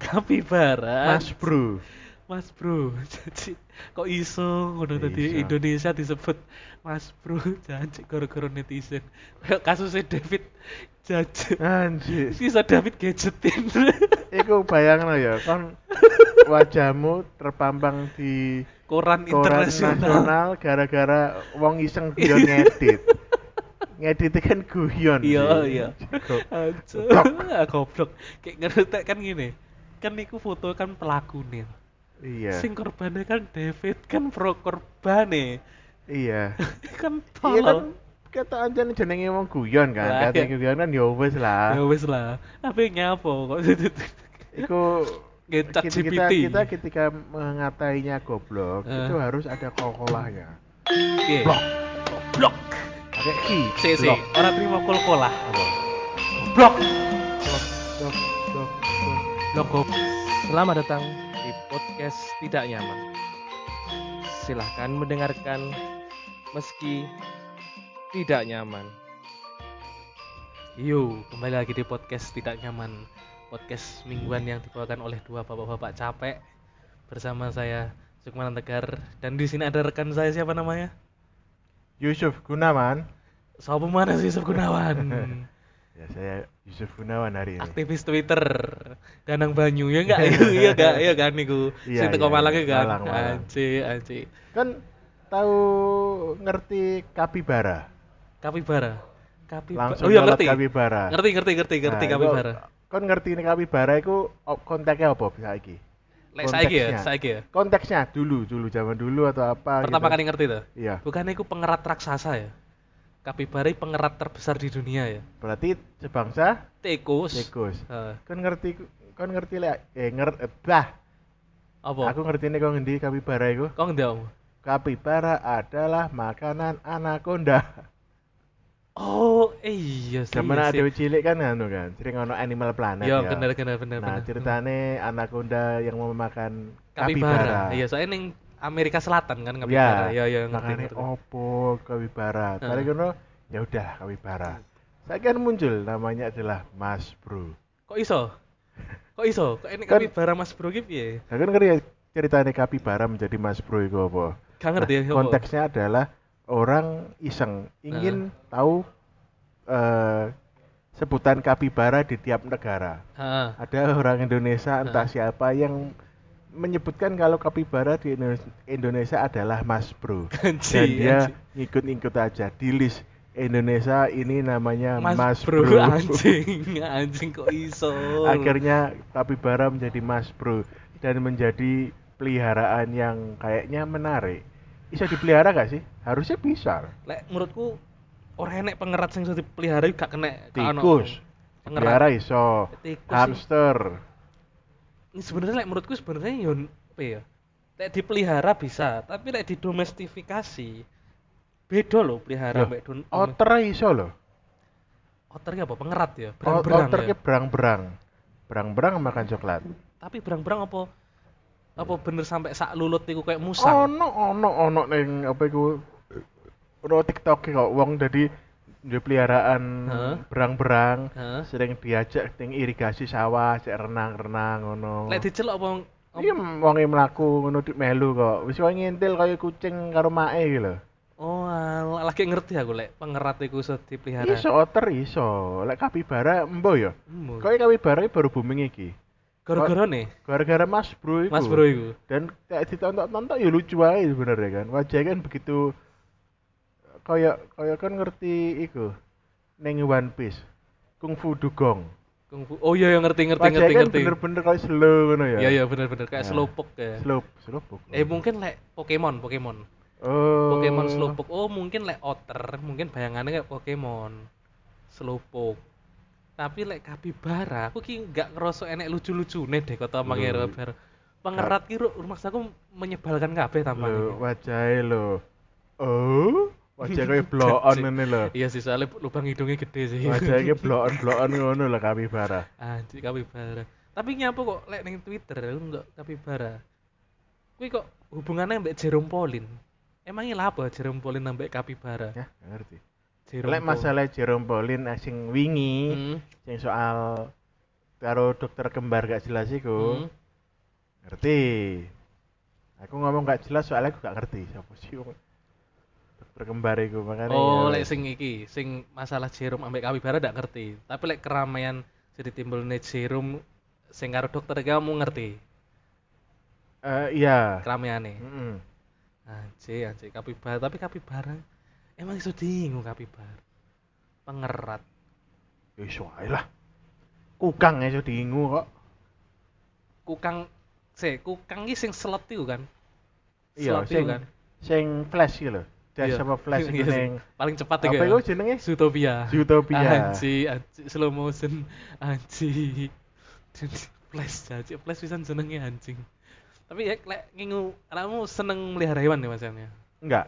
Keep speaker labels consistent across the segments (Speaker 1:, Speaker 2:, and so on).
Speaker 1: Tapi Barat.
Speaker 2: Mas Bro.
Speaker 1: Mas Bro, janji kok iso ngono
Speaker 2: Iso.
Speaker 1: tadi Indonesia disebut Mas Bro, janji gara-gara netizen. Kayak kasusnya David Jajet.
Speaker 2: Anjir.
Speaker 1: Bisa David ya? gadgetin.
Speaker 2: Iku bayangno ya, kon wajahmu terpampang di
Speaker 1: Koran
Speaker 2: koran
Speaker 1: internasional.
Speaker 2: nasional gara-gara wong iseng dia ngedit. ngedit kan guyon.
Speaker 1: Iya,
Speaker 2: sih.
Speaker 1: iya.
Speaker 2: Jago.
Speaker 1: Aduh, ah, goblok. Kayak ngerti kan gini. Kan niku foto kan pelaku nih.
Speaker 2: Iya.
Speaker 1: Sing korbannya kan David kan pro korbane.
Speaker 2: Iya.
Speaker 1: kan
Speaker 2: Iya kan
Speaker 1: tolong.
Speaker 2: kata anjane jenenge wong guyon
Speaker 1: Lah,
Speaker 2: kan.
Speaker 1: iya.
Speaker 2: Kata guyon kan ya wis
Speaker 1: Ya
Speaker 2: lah.
Speaker 1: wes lah. Tapi nyapo kok.
Speaker 2: Iku
Speaker 1: Kayak
Speaker 2: kita, kita,
Speaker 1: Ya, ChatGPT.
Speaker 2: kita ketika mengatainya goblok
Speaker 1: Eh.
Speaker 2: itu harus ada kokolahnya.
Speaker 1: Oke.
Speaker 2: Blok.
Speaker 1: Blok.
Speaker 2: Pakai ki.
Speaker 1: Si, si.
Speaker 2: blok.
Speaker 1: Orang terima kol lah.
Speaker 2: Apa?
Speaker 1: Blok.
Speaker 2: Blok, blok, blok, blok.
Speaker 1: Blok gob.
Speaker 3: Selamat datang di podcast Tidak Nyaman. Silahkan mendengarkan meski tidak nyaman.
Speaker 1: Yo, kembali lagi di podcast tidak nyaman. Podcast mingguan yang dibawakan oleh dua bapak-bapak capek bersama saya Sukmanan Tegar dan di sini ada rekan saya siapa namanya?
Speaker 2: Yusuf Gunawan.
Speaker 1: Sopo mana sih Yusuf Gunawan?
Speaker 2: Ya saya Yusuf Gunawan hari ini.
Speaker 1: Aktivis Twitter, Danang Banyu ya enggak? Iya enggak? Iya kan niku.
Speaker 2: Iya,
Speaker 1: Sing teko
Speaker 2: iya,
Speaker 1: Malang
Speaker 2: iya.
Speaker 1: ya kan.
Speaker 2: Malang, Malang.
Speaker 1: Anci, anci.
Speaker 2: Kan tahu ngerti kapibara.
Speaker 1: Kapibara. Kapibara. Oh
Speaker 2: Langsung
Speaker 1: iya
Speaker 2: nyolot
Speaker 1: ngerti.
Speaker 2: kapibara.
Speaker 1: Ngerti, ngerti, ngerti, ngerti
Speaker 2: Nah,
Speaker 1: kapibara.
Speaker 2: iku- Kon ngerti ini kapibara itu konteksnya apa bisa iki?
Speaker 1: Lek saiki ya,
Speaker 2: konteksnya.
Speaker 1: saiki ya.
Speaker 2: Konteksnya dulu, dulu zaman dulu atau apa?
Speaker 1: Pertama
Speaker 2: gitu.
Speaker 1: kali ngerti tuh.
Speaker 2: Iya.
Speaker 1: Bukannya iku pengerat raksasa ya. Kapibara ini pengerat terbesar di dunia ya.
Speaker 2: Berarti sebangsa
Speaker 1: Tikus.
Speaker 2: tikus.
Speaker 1: Eh,
Speaker 2: Kon ngerti kon ngerti lek eh nger eh, bah.
Speaker 1: apa?
Speaker 2: Aku ngerti ini kok ngendi kapibara iku.
Speaker 1: Kok ngerti om?
Speaker 2: Kapibara adalah makanan anaconda.
Speaker 1: Oh, eh, iya sih.
Speaker 2: Zaman
Speaker 1: iya
Speaker 2: ada
Speaker 1: sih.
Speaker 2: cilik kan anu kan, sering ono Animal Planet
Speaker 1: Ya,
Speaker 2: ya.
Speaker 1: benar, benar, benar. benar.
Speaker 2: Nah, ceritane anaconda yang mau memakan
Speaker 1: kapibara.
Speaker 2: kapibara.
Speaker 1: Iya, soalnya ning Amerika Selatan kan
Speaker 2: Ya,
Speaker 1: kapibara. Iya, iya, ngerti,
Speaker 2: makane
Speaker 1: ngerti.
Speaker 2: opo kapibara.
Speaker 1: Heeh.
Speaker 2: Tadi kono ya udah kapibara. Saya kan muncul namanya adalah Mas Bro.
Speaker 1: Kok iso? Kok iso? Kok ini
Speaker 2: Kan-
Speaker 1: kapibara Mas Bro Iya, ki piye?
Speaker 2: Saya kan ngerti ya ceritane kapibara menjadi Mas Bro iku apa.
Speaker 1: Gak ngerti ya,
Speaker 2: Nah,
Speaker 1: apa?
Speaker 2: konteksnya adalah orang iseng ingin tahu eh, sebutan kapibara di tiap negara.
Speaker 1: Heeh.
Speaker 2: Ada orang Indonesia entah
Speaker 1: Nah.
Speaker 2: siapa yang menyebutkan kalau kapibara di Indo- Indonesia adalah Mas Bro.
Speaker 1: Anji,
Speaker 2: Dan dia
Speaker 1: anji.
Speaker 2: ngikut-ngikut aja di list Indonesia ini namanya
Speaker 1: Mas,
Speaker 2: Mas,
Speaker 1: Bro,
Speaker 2: Bro.
Speaker 1: anjing, anjing kok iso.
Speaker 2: Akhirnya kapibara menjadi Mas Bro dan menjadi peliharaan yang kayaknya menarik. Bisa dipelihara gak sih? Harusnya bisa.
Speaker 1: lek menurutku ora enek pengerat sing iso dipelihara iki gak kena gak ono.
Speaker 2: Tikus. Pelihara
Speaker 1: Pengerat.
Speaker 2: iso.
Speaker 1: Tikus sih. Iya.
Speaker 2: Hamster.
Speaker 1: Ini sebenarnya lek menurutku sebenarnya yo apa ya? Lek dipelihara bisa, tapi lek didomestifikasi beda loh pelihara
Speaker 2: Loh,
Speaker 1: mbek dun.
Speaker 2: Otter iso loh.
Speaker 1: otter ki apa pengerat ya?
Speaker 2: Ot-
Speaker 1: Berang-berang.
Speaker 2: Otter
Speaker 1: ya?
Speaker 2: ke berang-berang. Berang-berang makan coklat.
Speaker 1: Tapi berang-berang apa apa bener sampai sak lulut iku kayak musang.
Speaker 2: Ono ono ono ning apa iku ro TikTok e kok wong dadi duwe peliharaan
Speaker 1: Heeh.
Speaker 2: berang-berang
Speaker 1: Heeh.
Speaker 2: sering diajak ning irigasi sawah, cek renang-renang ngono.
Speaker 1: Lek dicelok apa
Speaker 2: Iya wonge mlaku ngono di melu kok. Wis wae ngintil kaya kucing karo mae iki lho.
Speaker 1: Oh, alah, lagi ngerti aku lek pengerat iku iso dipelihara.
Speaker 2: Iso otter iso. Lek kapibara embo ya.
Speaker 1: Hmm.
Speaker 2: Kok kapibara iki baru booming iki.
Speaker 1: Gara-gara nih,
Speaker 2: Gara-gara Mas Bro iku.
Speaker 1: Mas Bro iku.
Speaker 2: Dan kayak ditonton-tonton ya lucu aja sebenarnya kan. Wajahnya kan begitu kayak kayak kan ngerti iku. Ning One Piece. Kung Fu Dugong.
Speaker 1: Kungfu. Oh iya, iya ngerti ngerti
Speaker 2: Wajahnya
Speaker 1: ngerti
Speaker 2: kan
Speaker 1: ngerti.
Speaker 2: bener-bener kayak slow ngono ya.
Speaker 1: Iya iya bener bener kayak
Speaker 2: Ya.
Speaker 1: slowpoke ya.
Speaker 2: Slow, slow book.
Speaker 1: Eh mungkin lek Pokemon Pokemon.
Speaker 2: Oh.
Speaker 1: Pokemon slowpoke. Oh mungkin lek otter, mungkin bayangannya kayak Pokemon. Slowpoke. Tapi lek kapibara, aku ki nggak ngerasa enek lucu-lucu nih deh kata Mang
Speaker 2: Loh.
Speaker 1: Robert. Pengerat ki ru- rumah aku menyebalkan kabeh
Speaker 2: Lho,
Speaker 1: tampaknya.
Speaker 2: wajahnya lho. Oh, wajahnya kayak bloon ini lho.
Speaker 1: Iya sih soalnya lubang hidungnya gede sih.
Speaker 2: Wajahnya bloon-bloon ngono lho kapibara.
Speaker 1: Anjir kapibara. Tapi nyapa kok lek ning Twitter aku enggak kapibara. Kuwi kok hubungannya mbek Jerome Pauline. Emangnya lah apa Jerome Pauline ambek kapibara?
Speaker 2: Ya, nggak ngerti.
Speaker 1: Jerome
Speaker 2: Lek
Speaker 1: Pauline.
Speaker 2: masalah Jerome Pauline eh, sing wingi,
Speaker 1: Hmm.
Speaker 2: sing soal karo dokter kembar gak jelas iku
Speaker 1: Hmm.
Speaker 2: ngerti aku ngomong gak jelas soalnya aku gak ngerti siapa sih wong dokter kembar iku makanya
Speaker 1: Oh,
Speaker 2: ya
Speaker 1: lek
Speaker 2: wes.
Speaker 1: sing iki, sing masalah serum ambek kapibara dak ngerti. Tapi lek keramaian jadi timbulne serum sing karo dokter kamu ngerti
Speaker 2: Eh, iya
Speaker 1: keramaiane.
Speaker 2: Mm-mm.
Speaker 1: Anjir, anjir kapibara, tapi kapibara emang iso diingu kapibara. Pengerat.
Speaker 2: Ya iso ae lah kukang iso diingu kok
Speaker 1: Kukang se, kukang iki sing selet iku kan.
Speaker 2: iya
Speaker 1: Selet
Speaker 2: sing
Speaker 1: iku kan.
Speaker 2: sing flash gitu loh dash
Speaker 1: Iya.
Speaker 2: sama flash
Speaker 1: Iya
Speaker 2: itu
Speaker 1: sih.
Speaker 2: neng
Speaker 1: paling cepat
Speaker 2: apa
Speaker 1: ya.
Speaker 2: itu jenenge
Speaker 1: Zootopia.
Speaker 2: Zootopia.
Speaker 1: Anji, anji, slow motion, anji. Flash, anji, flash bisa senengnya anjing. Tapi ya, lek ngingu, kamu seneng melihara hewan ya mas Yan, ya?
Speaker 2: enggak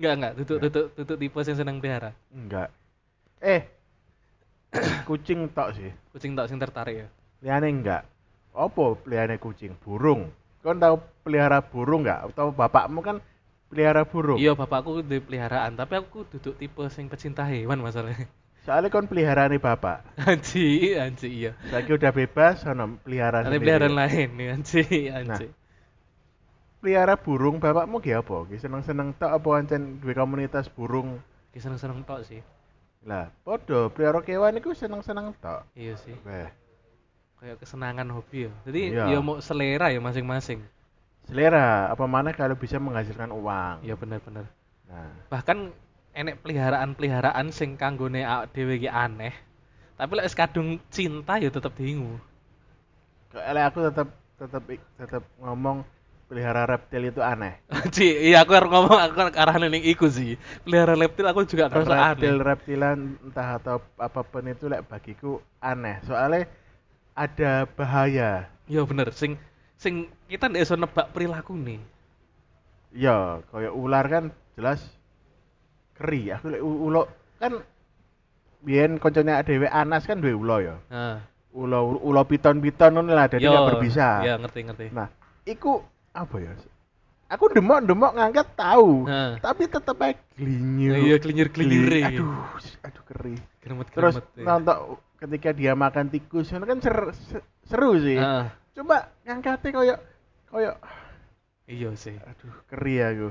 Speaker 1: Enggak, enggak, tutup,
Speaker 2: Enggak.
Speaker 1: tutup, tutup tipe yang seneng pelihara.
Speaker 2: enggak eh kucing tok sih
Speaker 1: Kucing tak sing tertarik ya.
Speaker 2: liane enggak opo liane kucing burung kau tahu pelihara burung enggak atau bapakmu kan pelihara burung
Speaker 1: Iya, bapakku di peliharaan, tapi aku duduk tipe sing pecinta hewan masalahnya.
Speaker 2: soalnya kon pelihara nih bapak
Speaker 1: Anji, anji, iya.
Speaker 2: saya udah bebas ono pelihara
Speaker 1: Ada
Speaker 2: sendiri.
Speaker 1: peliharaan lain, ya, anji,
Speaker 2: Nah.
Speaker 1: anji.
Speaker 2: pelihara burung bapakmu ki apa ki seneng seneng tok apa ancen duwe komunitas burung
Speaker 1: Nah. Seneng-seneng tok sih.
Speaker 2: lah podo pelihara kewan itu seneng seneng tok
Speaker 1: Iya sih.
Speaker 2: Weh,
Speaker 1: Kayak kesenangan hobi ya. Jadi
Speaker 2: Iya.
Speaker 1: ya mau selera ya masing-masing.
Speaker 2: selera apa mana kalau bisa menghasilkan uang
Speaker 1: Iya benar-benar.
Speaker 2: nah
Speaker 1: bahkan enek peliharaan-peliharaan sing kanggone awak dhewe iki aneh tapi lek wis kadung cinta ya tetep diingu
Speaker 2: kalau aku tetap tetap tetap ngomong pelihara reptil itu aneh
Speaker 1: Ci, iya aku harus ngomong aku arah ning iku sih. Pelihara reptil aku juga ngerasa
Speaker 2: reptil
Speaker 1: aneh.
Speaker 2: reptilan entah atau apapun itu lek bagiku aneh soalnya ada bahaya
Speaker 1: Iya bener, sing sing kita ndak iso nebak perilaku nih.
Speaker 2: ya kayak ular kan jelas keri aku lek u- ulo kan biyen koncone dhewe Anas kan duwe ulo ya
Speaker 1: Heeh.
Speaker 2: ulo ulo piton-piton ngono lah jadi gak berbisa
Speaker 1: Iya ngerti ngerti.
Speaker 2: nah iku apa ya aku demok-demok ngangkat tahu
Speaker 1: Nah.
Speaker 2: tapi tetep ae glinyu
Speaker 1: Iya, glinyer-glinyer.
Speaker 2: Glin- aduh aduh keri
Speaker 1: Geremet
Speaker 2: terus
Speaker 1: geremet. ya.
Speaker 2: nonton ketika dia makan tikus itu kan ser- se- seru sih
Speaker 1: Heeh.
Speaker 2: coba ngangkatnya koyok koyok
Speaker 1: Iya sih.
Speaker 2: aduh keri aku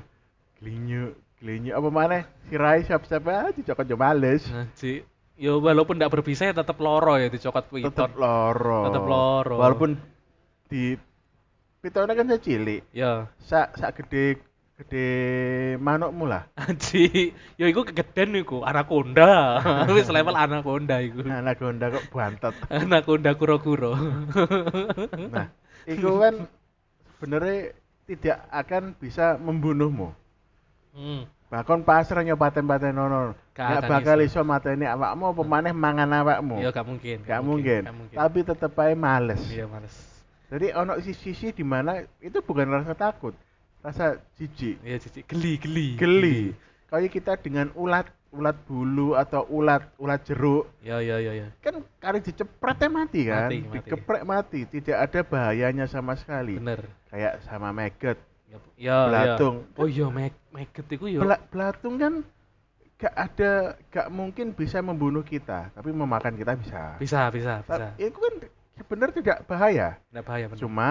Speaker 2: glinyu glinyu apa mana sirai siap siap aja cokot jo males
Speaker 1: Nah, Ci, yo walaupun ndak berbisa ya tetep loro ya dicokot piton.
Speaker 2: tetep loro
Speaker 1: Tetep loro.
Speaker 2: walaupun di pitonnya kan saya cilik
Speaker 1: Ya.
Speaker 2: sak sak gede gede manukmu lah
Speaker 1: Anji, ya iku kegeden iku, anaconda. Wis level anaconda iku.
Speaker 2: anaconda Nah, kok bantet
Speaker 1: Anaconda kura-kura.
Speaker 2: nah itu kan sebenarnya tidak akan bisa membunuhmu
Speaker 1: hmm.
Speaker 2: bahkan pasrah nyopaten paten nono
Speaker 1: Gak
Speaker 2: nggak
Speaker 1: akan
Speaker 2: bakal
Speaker 1: iso.
Speaker 2: iso mateni awakmu apa maneh mangan awakmu
Speaker 1: Ya gak mungkin.
Speaker 2: gak mungkin,
Speaker 1: Gak mungkin.
Speaker 2: tapi tetep aja males
Speaker 1: Iya, males.
Speaker 2: jadi ono sisi-sisi di mana itu bukan rasa takut rasa jijik
Speaker 1: Iya, cici geli, geli.
Speaker 2: geli kayak kita dengan ulat ulat bulu atau ulat ulat jeruk
Speaker 1: Ya, ya, ya, ya.
Speaker 2: kan kali dicepretnya mati kan
Speaker 1: Mati, mati.
Speaker 2: dikeprek mati tidak ada bahayanya sama sekali
Speaker 1: Bener.
Speaker 2: kayak sama maggot
Speaker 1: Ya, ya.
Speaker 2: Belatung.
Speaker 1: ya. Oh iya, meg meget iku ya.
Speaker 2: Bela- belatung kan gak ada gak mungkin bisa membunuh kita tapi memakan kita bisa
Speaker 1: Bisa, bisa, bisa.
Speaker 2: Ta- itu kan sebenarnya tidak bahaya
Speaker 1: Nggak bahaya bener.
Speaker 2: cuma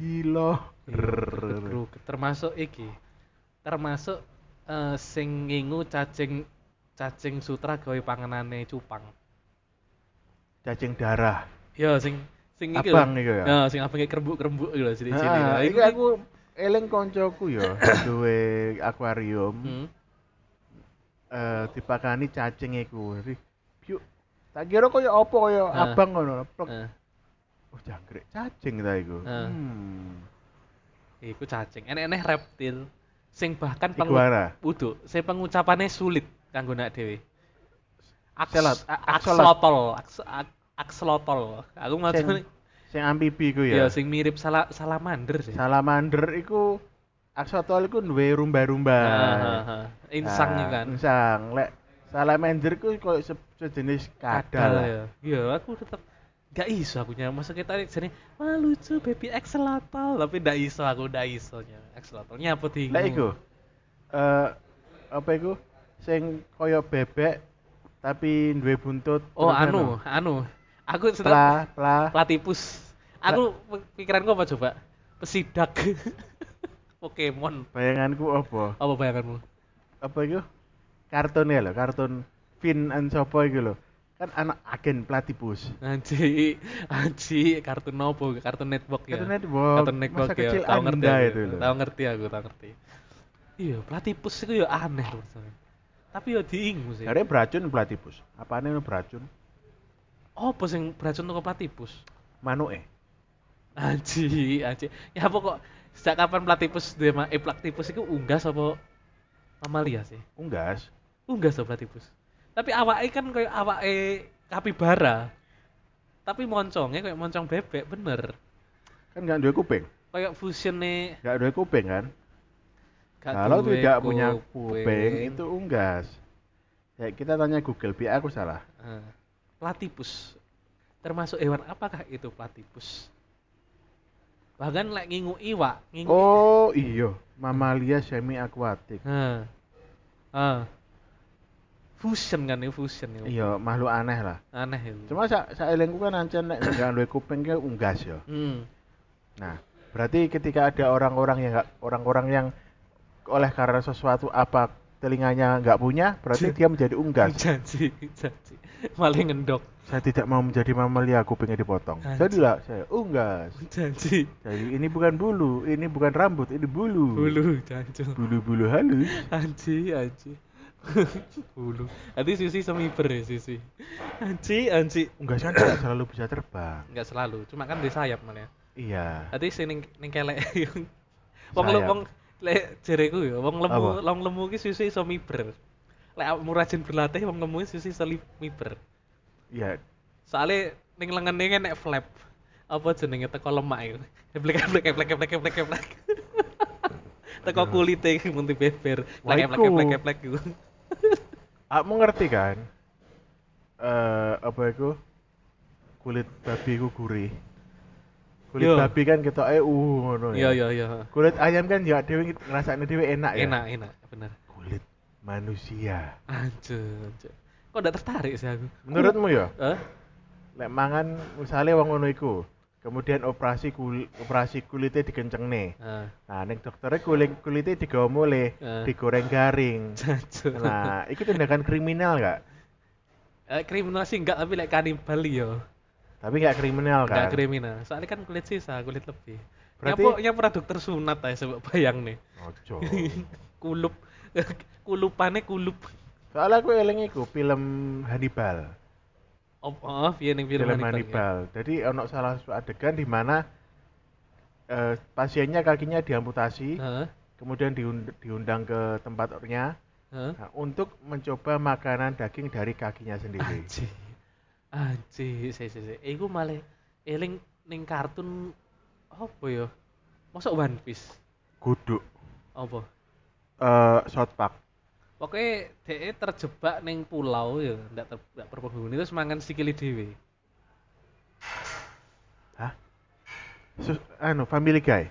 Speaker 2: gilo
Speaker 1: Iya, gergeruget. termasuk iki termasuk eh, sing ngingu cacing cacing sutra gawe panganane cupang
Speaker 2: cacing darah
Speaker 1: ya sing sing iki lho.
Speaker 2: Abang iku ya?
Speaker 1: ya sing abang kerembuk kerembuk gitu cilik cilik
Speaker 2: nah,
Speaker 1: iku
Speaker 2: itu aku eling koncoku ya duwe akuarium
Speaker 1: hmm.
Speaker 2: eh dipakani cacing iku Jadi, yuk tak kira kaya apa kaya
Speaker 1: Ah.
Speaker 2: abang ngono plek
Speaker 1: eh,
Speaker 2: Oh jangkrik cacing ta iku.
Speaker 1: Ah.
Speaker 2: Hmm.
Speaker 1: iku cacing enek-enek reptil sing bahkan
Speaker 2: Iguana.
Speaker 1: Wudu, sing pengucapannya sulit kanggo nak dhewe Aks-
Speaker 2: Axolot- a-
Speaker 1: axolotl Aks- a- axolotl aku mau
Speaker 2: Sing, sing amfibi iku
Speaker 1: ya
Speaker 2: ya.
Speaker 1: sing mirip sala salamander sih
Speaker 2: Salamander iku aksotol iku duwe rumba-rumba.
Speaker 1: Ah, ah, ah. Insang
Speaker 2: Nah,
Speaker 1: ya kan.
Speaker 2: Insang. Lek salamander iku koyo se- sejenis kadal.
Speaker 1: ya. Iya, aku tetap gak iso aku nyamuk. Masa kita jadi wah lucu baby axolotl tapi gak iso aku gak iso nya. Axolotlnya apa tinggi?
Speaker 2: Lek iku eh apa iku sing koyo bebek tapi duwe buntut
Speaker 1: Oh
Speaker 2: terus
Speaker 1: anu, anu, Aku sedang
Speaker 2: Pla, pla.
Speaker 1: platipus. Aku pikiranku apa coba? Pesidak. Pokemon.
Speaker 2: Bayanganku apa?
Speaker 1: Apa bayanganmu?
Speaker 2: apa itu kartun ya lho kartun Finn and Sopo itu lho kan anak agen platypus
Speaker 1: Anji, anji, kartun nopo, kartun network ya.
Speaker 2: Kartun network.
Speaker 1: Kartun network
Speaker 2: Masa
Speaker 1: ya.
Speaker 2: kecil
Speaker 1: Tahu ngerti
Speaker 2: Anda
Speaker 1: aku,
Speaker 2: itu loh.
Speaker 1: Tahu ngerti aku, tahu ngerti. Iya, platypus itu ya aneh loh. sebenarnya. Tapi ya diingu sih.
Speaker 2: Dari beracun platypus apa ini beracun
Speaker 1: Apa sing beracun toko platypus?
Speaker 2: manuk eh
Speaker 1: Anji, anji. Ya apa kok sejak kapan platypus dia ma- eh platypus itu unggas apa mamalia sih?
Speaker 2: unggas
Speaker 1: Unggas loh platypus. Tapi awake kan kayak awake kapibara. Tapi moncongnya kayak moncong bebek bener.
Speaker 2: kan nggak dua kuping
Speaker 1: Kayak fusionnya
Speaker 2: nggak dua kuping kan Nah,
Speaker 1: Gak
Speaker 2: kalau
Speaker 1: duwe
Speaker 2: tidak punya kuping
Speaker 1: kuping.
Speaker 2: itu unggas ya kita tanya Google biar aku salah
Speaker 1: Ah, platypus termasuk hewan apakah itu platypus bahkan lek ngingu iwak ngingu
Speaker 2: oh iyo mamalia semi akuatik
Speaker 1: Ah. Ah. fusion kan itu fusion itu
Speaker 2: iyo makhluk aneh lah
Speaker 1: aneh ya. itu
Speaker 2: Iya. cuma saya elingku kan ancen nek nggak dua kuping itu unggas ya
Speaker 1: hmm.
Speaker 2: Nah, berarti ketika ada orang-orang yang nggak orang-orang yang oleh karena sesuatu apa telinganya nggak punya, berarti dia menjadi unggas.
Speaker 1: janji janji malah ngendok
Speaker 2: Saya tidak mau menjadi mamalia, kupingnya dipotong. Jadilah saya unggas.
Speaker 1: janji
Speaker 2: Jadi ini bukan bulu, ini bukan rambut, ini bulu.
Speaker 1: bulu jancung
Speaker 2: Bulu-bulu halus.
Speaker 1: Anji, anji. Bulu. Nanti sisi semiber ya sisi. Anji, anji.
Speaker 2: Unggas kan tidak selalu bisa terbang.
Speaker 1: Enggak selalu, cuma kan di sayap malah.
Speaker 2: Iya.
Speaker 1: Tadi sing ning ning kelek. Wong lu
Speaker 2: Sayap.
Speaker 1: wong lek jereku ya, wong lemu,
Speaker 2: Apa?
Speaker 1: wong lemu ki susu iso miber. Lek awakmu rajin berlatih wong lemu ki susu iso li- miber.
Speaker 2: Iya.
Speaker 1: Soale ning lengene kan nek flap. Apa jenenge teko lemak iku. Eblek eblek eblek eblek eblek eblek. teko kulite ki mung dibeber. Eblek eblek
Speaker 2: Waiku.
Speaker 1: eblek eblek iku.
Speaker 2: Kamu ngerti kan? Eh apa itu? Kulit babi ku gurih. Kulit
Speaker 1: Yo.
Speaker 2: babi kan kita eh uh ngono
Speaker 1: Iya
Speaker 2: ya.
Speaker 1: iya iya.
Speaker 2: kulit ayam kan ya dewe ngerasaknya dewe enak ya
Speaker 1: Enak enak bener.
Speaker 2: kulit manusia
Speaker 1: Anjir, anjir. Kok ndak tertarik sih aku?
Speaker 2: menurutmu ya
Speaker 1: Hah?
Speaker 2: lek mangan misalnya wong ngono iku kemudian operasi kulit operasi kulitnya dikenceng nih
Speaker 1: Ah.
Speaker 2: nah ning dokternya kulit kulitnya digawa mulai
Speaker 1: Eh.
Speaker 2: digoreng garing
Speaker 1: Jancuk.
Speaker 2: nah itu tindakan kriminal gak
Speaker 1: Eh, kriminal sih enggak tapi like kanibal yo.
Speaker 2: tapi nggak kriminal
Speaker 1: Enggak
Speaker 2: kan
Speaker 1: kriminal. Soalnya kan kulit sisa, kulit lebih.
Speaker 2: Berarti-
Speaker 1: Berarti ya pernah dokter sunat ae sebab bayang nih.
Speaker 2: ojo
Speaker 1: Kulup kulupane kulup.
Speaker 2: soalnya aku eling iku film Hannibal
Speaker 1: Op oh, piye ning
Speaker 2: film,
Speaker 1: film Hannibal.
Speaker 2: Hannibal. Jadi ono salah satu adegan di mana eh, pasiennya kakinya diamputasi,
Speaker 1: Heeh.
Speaker 2: kemudian diund- diundang ke tempatnya
Speaker 1: Heeh.
Speaker 2: nah, untuk mencoba makanan daging dari kakinya sendiri.
Speaker 1: Anji. Anji, sik sik sik. Iku malah eling ning kartun apa ya? Mosok One Piece.
Speaker 2: Guduk
Speaker 1: Apa?
Speaker 2: eh South Park.
Speaker 1: Pokoknya dia terjebak neng pulau ya, ndak ter, ndak berpenghuni terus mangan sikili dhewe.
Speaker 2: Hah? Sus- anu Family Guy.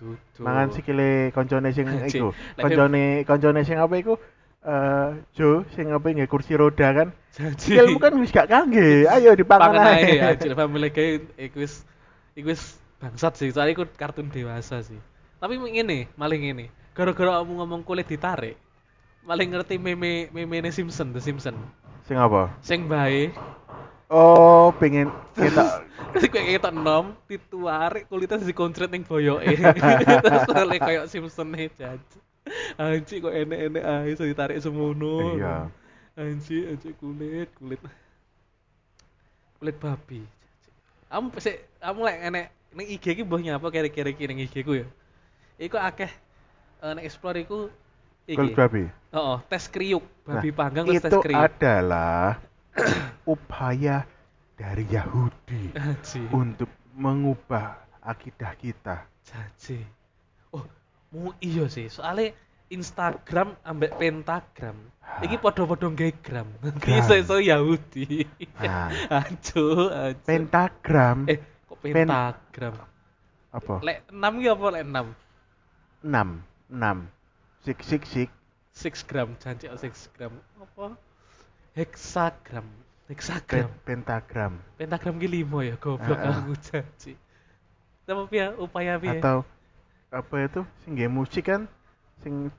Speaker 1: Dudu.
Speaker 2: Mangan sikile koncone sing
Speaker 1: Anjing.
Speaker 2: iku.
Speaker 1: Lek-
Speaker 2: Koncone koncone sing apa iku? Eh Jo sing apa nggih kursi roda kan.
Speaker 1: Janji.
Speaker 2: Sikilmu kan wis gak kangge. Ayo dipangan
Speaker 1: pangan ae
Speaker 2: ae.
Speaker 1: anjir family guy eh, iku wis iku wis bangsat sih soalnya iku kartun dewasa sih tapi ngene malah ngene gara-gara kamu ngomong kulit ditarik malah ngerti meme meme Simpson The Simpson
Speaker 2: Sing apa?
Speaker 1: sing bae
Speaker 2: Oh, pengen kita
Speaker 1: terus kayak ketok nom dituarik kulitnya dikoncret ning boyoke terus soalnya kayak Simpson nih janji anjir kok enek-enek ae iso ditarik semono
Speaker 2: Iya.
Speaker 1: anjir anjir kulit kulit kulit babi kamu sik kamu lek enek ning IG ki mbuh nyapa kiri-kiri ki ning IG ku ya iku akeh eh, nek explore iku iki
Speaker 2: kulit babi.
Speaker 1: oh, tes kriuk
Speaker 2: Nah,
Speaker 1: babi panggang terus tes
Speaker 2: itu
Speaker 1: kriuk
Speaker 2: adalah upaya dari Yahudi
Speaker 1: anjir
Speaker 2: untuk mengubah akidah kita.
Speaker 1: Jaji. Oh, mu iya sih. Soalnya Instagram ambek pentagram. Iki podo-podo nggae gram. Iki
Speaker 2: Gram.
Speaker 1: iso-iso Yahudi.
Speaker 2: Nah,
Speaker 1: Aduh, aduh.
Speaker 2: pentagram
Speaker 1: eh, kok
Speaker 2: pen-
Speaker 1: pentagram?
Speaker 2: apa?
Speaker 1: Lek 6 iki apa lek 6?
Speaker 2: 6, 6. Sik sik sik.
Speaker 1: 6 gram, janji 6 gram. Apa? Heksagram. Hexagram.
Speaker 2: Pe- pentagram
Speaker 1: Pentagram ki limo ya, goblok
Speaker 2: Ah, ah.
Speaker 1: aku janji. Tapi piye upaya piye?
Speaker 2: atau apa itu sing nggih musik kan sing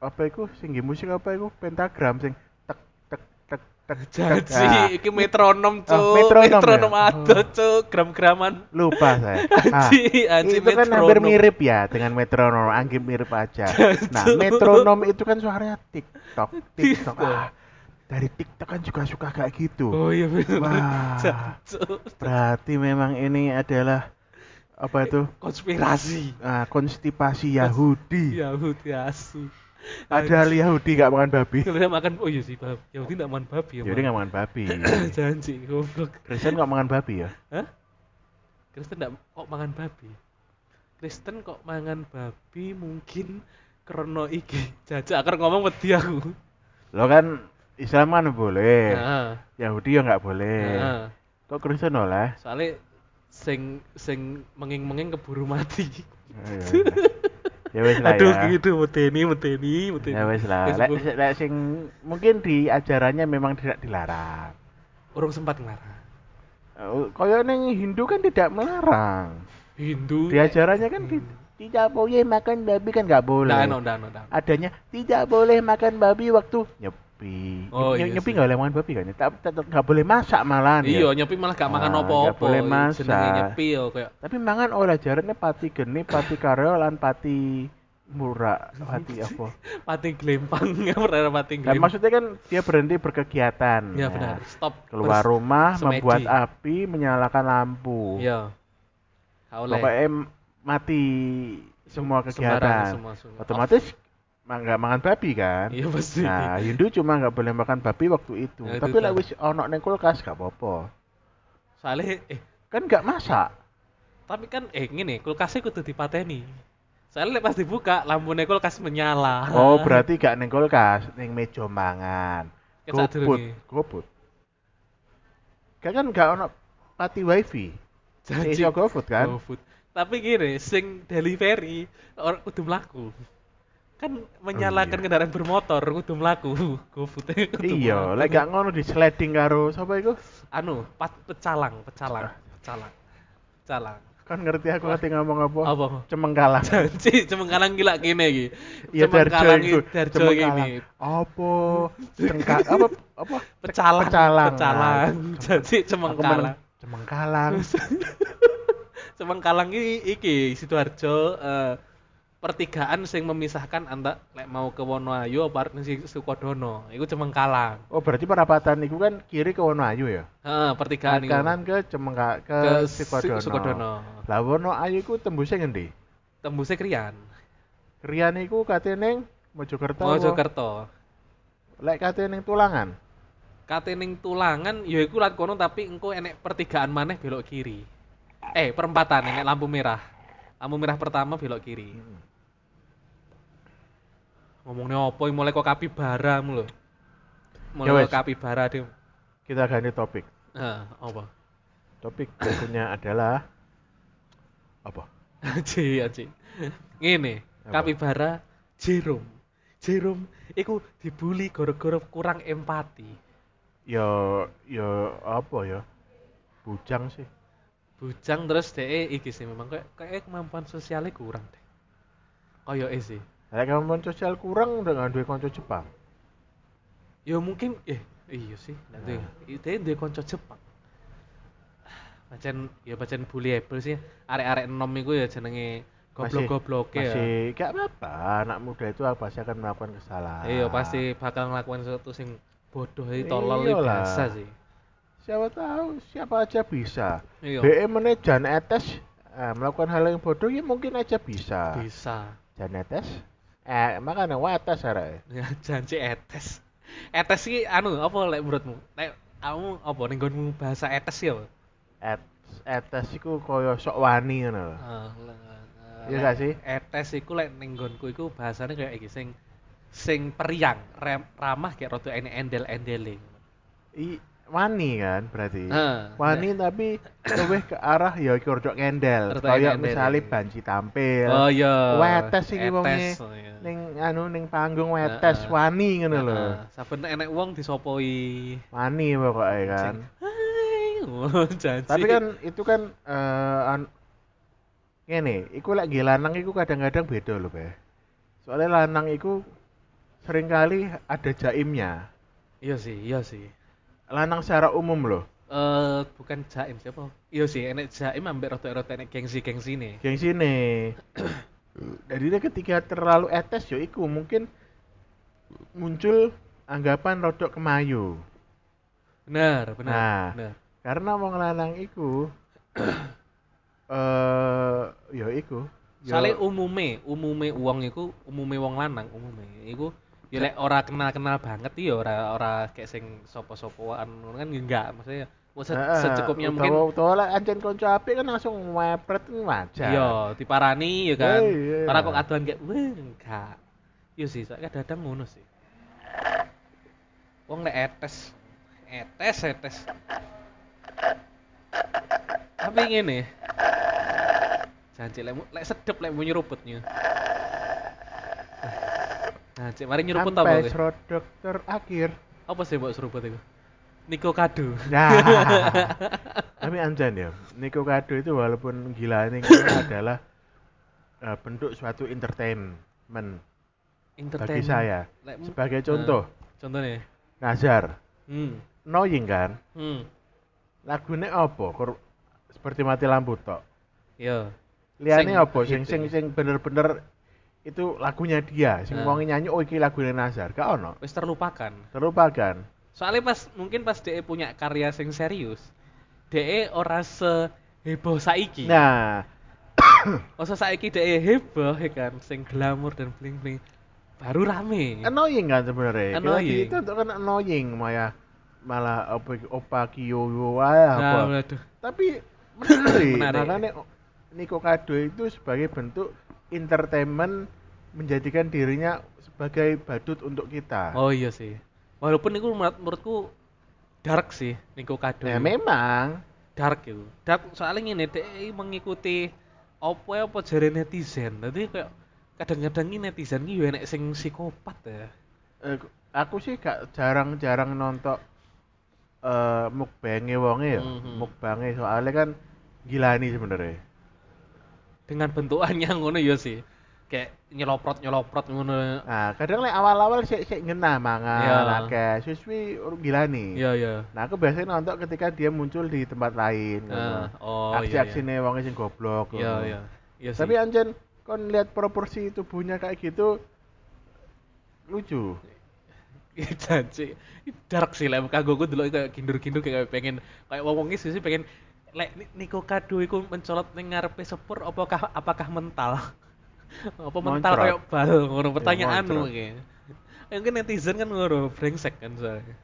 Speaker 2: apa iku sing nggih musik apa iku pentagram sing tek tek tek tek tek. Ah,
Speaker 1: Janji, iki metronom
Speaker 2: Ah,
Speaker 1: cuk,
Speaker 2: metronom ya? Oh.
Speaker 1: metronom adoh cuk, gram-graman.
Speaker 2: lupa saya Ah,
Speaker 1: Anji, anji
Speaker 2: itu kan hampir mirip ya dengan metronom anggap mirip aja nah
Speaker 1: Jancu.
Speaker 2: metronom itu kan suaranya tiktok tiktok ah, dari tiktok kan juga suka kayak gitu
Speaker 1: Oh iya bener.
Speaker 2: Wah.
Speaker 1: Jancuk.
Speaker 2: berarti memang ini adalah apa itu
Speaker 1: Konspirasi.
Speaker 2: ah, konstipasi Yahudi
Speaker 1: Yahudi asu.
Speaker 2: padahal Yahudi nggak makan babi
Speaker 1: Kalau makan oh iya sih babi. Yahudi enggak makan babi ya.
Speaker 2: Yahudi nggak makan babi Iya.
Speaker 1: Mak. Janji goblok.
Speaker 2: Kristen nggak makan babi ya
Speaker 1: Hah? Kristen enggak kok mangan babi? Kristen kok mangan babi mungkin karena iki jajak akar ngomong wedi aku.
Speaker 2: lo kan Islam kan boleh
Speaker 1: Heeh.
Speaker 2: Yahudi ya nggak boleh
Speaker 1: Heeh.
Speaker 2: kok Kristen oleh
Speaker 1: nah. Soalnya sing sing menging-menging keburu mati.
Speaker 2: Iya, ya wes lah
Speaker 1: Aduh
Speaker 2: ya.
Speaker 1: gitu medeni medeni medeni.
Speaker 2: Ya wes lah.
Speaker 1: Wis,
Speaker 2: Lek
Speaker 1: Bu.
Speaker 2: lek sing mungkin di ajarannya memang tidak dilarang.
Speaker 1: Orang sempat ngelarang.
Speaker 2: Eh, Kaya neng Hindu kan tidak melarang.
Speaker 1: Hindu.
Speaker 2: Di ajarannya kan di- tidak boleh makan babi kan nggak boleh.
Speaker 1: Nggak, Hmm. no, nggak, no, nggak.
Speaker 2: Adanya tidak boleh makan babi waktu nyepi.
Speaker 1: Oh,
Speaker 2: Nye-
Speaker 1: iya
Speaker 2: nyepi
Speaker 1: sih.
Speaker 2: nggak boleh makan babi kan? Tetap tetap nggak boleh masak malahan. ya.
Speaker 1: Iya, nyepi malah gak makan
Speaker 2: Ah,
Speaker 1: apa-apa. Iya,
Speaker 2: nggak boleh masak.
Speaker 1: Jenenge nyepi yo kayak
Speaker 2: Tapi mangan oleh ajarannya pati geni, pati karyo, lan pati murah, pati apa?
Speaker 1: pati glempang, nggak pernah pati
Speaker 2: Nah,
Speaker 1: glempang.
Speaker 2: maksudnya kan dia berhenti berkegiatan.
Speaker 1: Ya
Speaker 2: Nah,
Speaker 1: benar. Stop.
Speaker 2: keluar
Speaker 1: Terus-
Speaker 2: rumah
Speaker 1: semedi.
Speaker 2: membuat api menyalakan lampu
Speaker 1: Iya. Nggak Oleh.
Speaker 2: pokoknya em- mati
Speaker 1: Sembarangan,
Speaker 2: semua kegiatan
Speaker 1: semua- semua.
Speaker 2: otomatis ma- nggak makan babi kan
Speaker 1: Iya pasti.
Speaker 2: nah Hindu cuma nggak boleh makan babi waktu itu
Speaker 1: Ya, itu
Speaker 2: tapi lah
Speaker 1: kan.
Speaker 2: wis ono neng kulkas nggak apa-apa
Speaker 1: Soalnya eh
Speaker 2: kan nggak masak
Speaker 1: tapi kan eh ngene, kulkasnya kudu dipateni. Soalnya lek pas dibuka lampune kulkas menyala.
Speaker 2: oh berarti nggak neng kulkas neng meja mangan
Speaker 1: Kan saat
Speaker 2: goput
Speaker 1: durunge.
Speaker 2: goput kan kan nggak ono pati wifi
Speaker 1: Janji.
Speaker 2: iso GoFood kan?
Speaker 1: GoFood. Oh, Tapi gini, sing delivery orang kudu mlaku. Kan menyalakan
Speaker 2: iya.
Speaker 1: kendaraan bermotor kudu mlaku. GoFood kudu
Speaker 2: iya
Speaker 1: mlaku.
Speaker 2: lek nggak ngono di sliding karo siapa itu
Speaker 1: anu pat pecalang pecalang
Speaker 2: Ah.
Speaker 1: pecalang pecalang
Speaker 2: kan ngerti aku ngerti ngomong apa
Speaker 1: Apa?
Speaker 2: cemengkalang
Speaker 1: janji cemengkalang gila gini iki
Speaker 2: iya darjo
Speaker 1: Cemengkalang
Speaker 2: itu
Speaker 1: iki, darjo
Speaker 2: cemengkalang
Speaker 1: gini
Speaker 2: apa cengka apa apa
Speaker 1: pecalang
Speaker 2: pecalang
Speaker 1: pecalang
Speaker 2: Nah,
Speaker 1: janji
Speaker 2: aku meneng-
Speaker 1: cemengkalang
Speaker 2: cemengkalang
Speaker 1: cemengkalang iki iki sidoarjo eh, pertigaan sing memisahkan anta lek mau ke Wonoayu apa arek sing Sukodono iku cemengkalang
Speaker 2: oh berarti perapatan itu kan kiri ke Wonoayu ya
Speaker 1: heeh pertigaan iku
Speaker 2: kanan ke cemengka ke,
Speaker 1: Ke Su-
Speaker 2: Sukodono
Speaker 1: Sukodono.
Speaker 2: lah Wonoayu itu tembusnya ngendi
Speaker 1: tembusnya Krian
Speaker 2: Rian iku katene neng Mojokerto apa?
Speaker 1: Mojokerto
Speaker 2: lek katene neng tulangan
Speaker 1: katening tulangan ya iku lat kono tapi engko enek pertigaan maneh belok kiri. Eh, perempatan enek lampu merah. Lampu merah pertama belok kiri. Ngomongnya opo mulai kok kapibara mulu.
Speaker 2: Ya
Speaker 1: Mulai
Speaker 2: wes.
Speaker 1: kok kapibara deh.
Speaker 2: kita ganti topik
Speaker 1: Heeh, apa?
Speaker 2: topik berikutnya adalah apa
Speaker 1: Aji, aji. Ngene,
Speaker 2: Apa?
Speaker 1: kapibara Jerome. Jerome iku dibully gara-gara kurang empati.
Speaker 2: yo yo apa ya bujang sih
Speaker 1: Bujang terus DE iki sih memang kayak kayak kemampuan sosialnya kurang deh. Kayak eh sih.
Speaker 2: Lek kemampuan sosial kurang udah nggak duwe konco Jepang.
Speaker 1: Ya mungkin eh iya sih. Nanti
Speaker 2: Nah.
Speaker 1: dia dia konco Jepang. Bacaan ya bacaan bullyable sih. Arek-arek enom iku ya jenenge goblok-goblok
Speaker 2: ya.
Speaker 1: ya.
Speaker 2: Masih gak apa-apa, anak muda itu pasti akan melakukan kesalahan.
Speaker 1: Iya pasti bakal ngelakuin sesuatu sing bodoh iki tolol iki
Speaker 2: Iyalah.
Speaker 1: biasa sih.
Speaker 2: Siapa tahu, siapa aja bisa.
Speaker 1: Iya.
Speaker 2: BE meneh Jan Etes eh, melakukan hal yang bodoh ya mungkin aja bisa.
Speaker 1: Bisa.
Speaker 2: Jan Etes eh makanya wates arek.
Speaker 1: Ya janji etes. Etes iki anu apa lek menurutmu? Lek kamu apa ning nggonmu bahasa etes ya? apa?
Speaker 2: Et, etes iku koyo sok wani ngono lho.
Speaker 1: Eh, le- eh,
Speaker 2: Iya
Speaker 1: lek
Speaker 2: gak sih?
Speaker 1: Etes iku lek ning nggonku iku bahasane kayak iki sing sing periang, rem, ramah kayak rada enek endel-endele.
Speaker 2: I- wani kan berarti
Speaker 1: Ha.
Speaker 2: wani
Speaker 1: Iya.
Speaker 2: tapi lebih ke arah ya iki rodok kendel
Speaker 1: Rodok
Speaker 2: kaya
Speaker 1: kendel. iya.
Speaker 2: misalnya banci tampil
Speaker 1: Oh iya.
Speaker 2: wetes ya. iki
Speaker 1: Etes,
Speaker 2: wonge
Speaker 1: oh iya.
Speaker 2: ning anu ning panggung wetes
Speaker 1: Heeh.
Speaker 2: wani ngono lho
Speaker 1: Heeh, Saben enek wong disopoi.
Speaker 2: wani pokoknya kan
Speaker 1: Sing, Hai, ngono, janji.
Speaker 2: tapi kan itu kan eh an- ngene iku lek nggih lanang iku kadang-kadang beda lho Beh soalnya lanang iku seringkali ada jaimnya
Speaker 1: iya sih, iya sih.
Speaker 2: lanang secara umum loh
Speaker 1: Eh bukan jaim siapa? Iya sih, enek jaim ambek rotok-rotok enek gengsi-gengsi nih.
Speaker 2: gengsi nih jadi dia ketika terlalu etes yo iku mungkin muncul anggapan rodok kemayu
Speaker 1: Benar, benar.
Speaker 2: Nah.
Speaker 1: benar.
Speaker 2: karena wong lanang iku eh yo iku ya yo-
Speaker 1: Soale umume, umume wong iku, umume wong lanang, umume iku ya lek ora kenal-kenal banget ya ora ora kayak sing sapa-sapaan ngono kan ya enggak maksudnya wah, se-
Speaker 2: Heeh,
Speaker 1: secukupnya
Speaker 2: utawa-
Speaker 1: mungkin
Speaker 2: utawa lah ancen konco apik kan langsung mepret kan wajar
Speaker 1: Iya, diparani ya kan.
Speaker 2: Woi, iya.
Speaker 1: Ora kok aduan kayak weh enggak. Iya sih, soalnya kadang ngono sih. Wong lek etes. Etes, etes. Tapi ngene. Janji lek mu- lek sedep lek bunyi ruputnya. Nah, cek mari nyeruput apa
Speaker 2: sampai
Speaker 1: kowe?
Speaker 2: serodok terakhir
Speaker 1: Apa sih mbok seruput iku? Niko kado.
Speaker 2: nah tapi anjan ya Niko Kado itu walaupun gila ini adalah eh, bentuk suatu entertainment bagi
Speaker 1: Entertainment.
Speaker 2: saya
Speaker 1: Lek mu-
Speaker 2: sebagai
Speaker 1: Nah,
Speaker 2: contoh
Speaker 1: contohnya.
Speaker 2: Nazar
Speaker 1: Hmm.
Speaker 2: annoying kan
Speaker 1: Hmm.
Speaker 2: lagune apa Kur- seperti mati lampu tok
Speaker 1: Iya. Sing
Speaker 2: liane apa sing
Speaker 1: hit
Speaker 2: sing
Speaker 1: ya.
Speaker 2: sing bener-bener itu lagunya dia sing
Speaker 1: Nah.
Speaker 2: wong nyanyi oh iki lagune Nazar gak ono
Speaker 1: Wis terlupakan.
Speaker 2: terlupakan
Speaker 1: soalnya pas mungkin pas DE punya karya sing serius DE ora seheboh saiki
Speaker 2: nah
Speaker 1: Masa saiki DE heboh ya kan sing glamor dan bling bling baru rame
Speaker 2: annoying kan sebenarnya
Speaker 1: Annoying.
Speaker 2: kita itu kan annoying malah malah apa opa kiyo wah apa
Speaker 1: nah waduh
Speaker 2: tapi menarik,
Speaker 1: Menarik.
Speaker 2: makanya Niko Kado itu sebagai bentuk entertainment menjadikan dirinya sebagai badut untuk kita
Speaker 1: oh iya sih walaupun itu menurut, menurutku dark sih Niko Kado
Speaker 2: ya memang
Speaker 1: dark itu dark soalnya ini DE mengikuti apa apa jare netizen jadi kayak kadang-kadang ini netizen ini yo enek sing psikopat ya
Speaker 2: eh, aku sih gak jarang-jarang nonton eh mukbangnya wonge ya
Speaker 1: Mhm.
Speaker 2: mukbangnya soalnya kan gila nih sebenarnya
Speaker 1: dengan bentukannya ngono yo sih kayak nyeloprot nyeloprot ngono
Speaker 2: nah kadang like awal-awal sih sih ngena
Speaker 1: Iya.
Speaker 2: mangan akeh suswi gila nih
Speaker 1: Iya iya.
Speaker 2: Nah, aku biasanya nonton ketika dia muncul di tempat lain.
Speaker 1: Ah, oh, iya,
Speaker 2: aksi-aksi nih wong sing goblok.
Speaker 1: Iya
Speaker 2: ngono.
Speaker 1: iya. Iya sih.
Speaker 2: Tapi anjen kon lihat proporsi tubuhnya kayak gitu lucu.
Speaker 1: janji Iya, dark sih lek kanggoku delok kayak kindur-kindur kayak pengen kayak wong-wong sih pengen lek Ni- Niko Kado iku mencolot ning ngarepe sepur apakah apakah mental? apa mental
Speaker 2: Moncrot.
Speaker 1: kayak bal ngono pertanyaan ngono
Speaker 2: moncrot.
Speaker 1: kayak. Ya, Mungkin netizen kan ngono brengsek kan soalnya.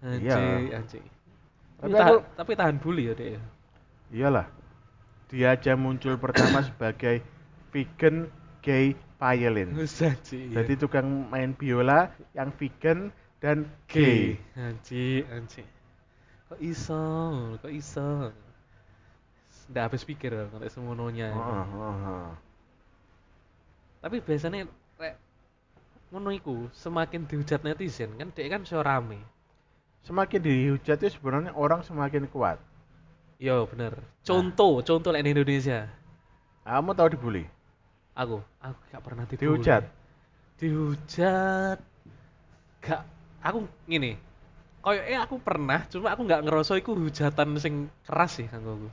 Speaker 2: Iya.
Speaker 1: Anjing, anjing. Tapi,
Speaker 2: Tapi
Speaker 1: tahan,
Speaker 2: aku-
Speaker 1: tapi tahan bully ya dek. ya.
Speaker 2: Iyalah. Dia aja muncul pertama sebagai vegan gay violin.
Speaker 1: Janji. iya.
Speaker 2: Jadi tukang main biola yang vegan dan
Speaker 1: Oke,
Speaker 2: gay.
Speaker 1: anji, anji. Kok iso, kok iso. Nggak habis pikir loh, kalau semuanya.
Speaker 2: Heeh, heeh, heeh.
Speaker 1: Tapi biasanya rek ngono iku semakin dihujat netizen kan dia kan iso rame.
Speaker 2: Semakin dihujat itu sebenarnya orang semakin kuat.
Speaker 1: Yo Iya, bener.
Speaker 2: Nah.
Speaker 1: Contoh, contoh lek di Indonesia.
Speaker 2: Kamu tahu dibully?
Speaker 1: Aku, aku gak pernah dibully.
Speaker 2: Dihujat.
Speaker 1: Dihujat. Gak aku ngene. Koyoke aku pernah, cuma aku gak ngerasa iku hujatan sing keras sih kanggo aku.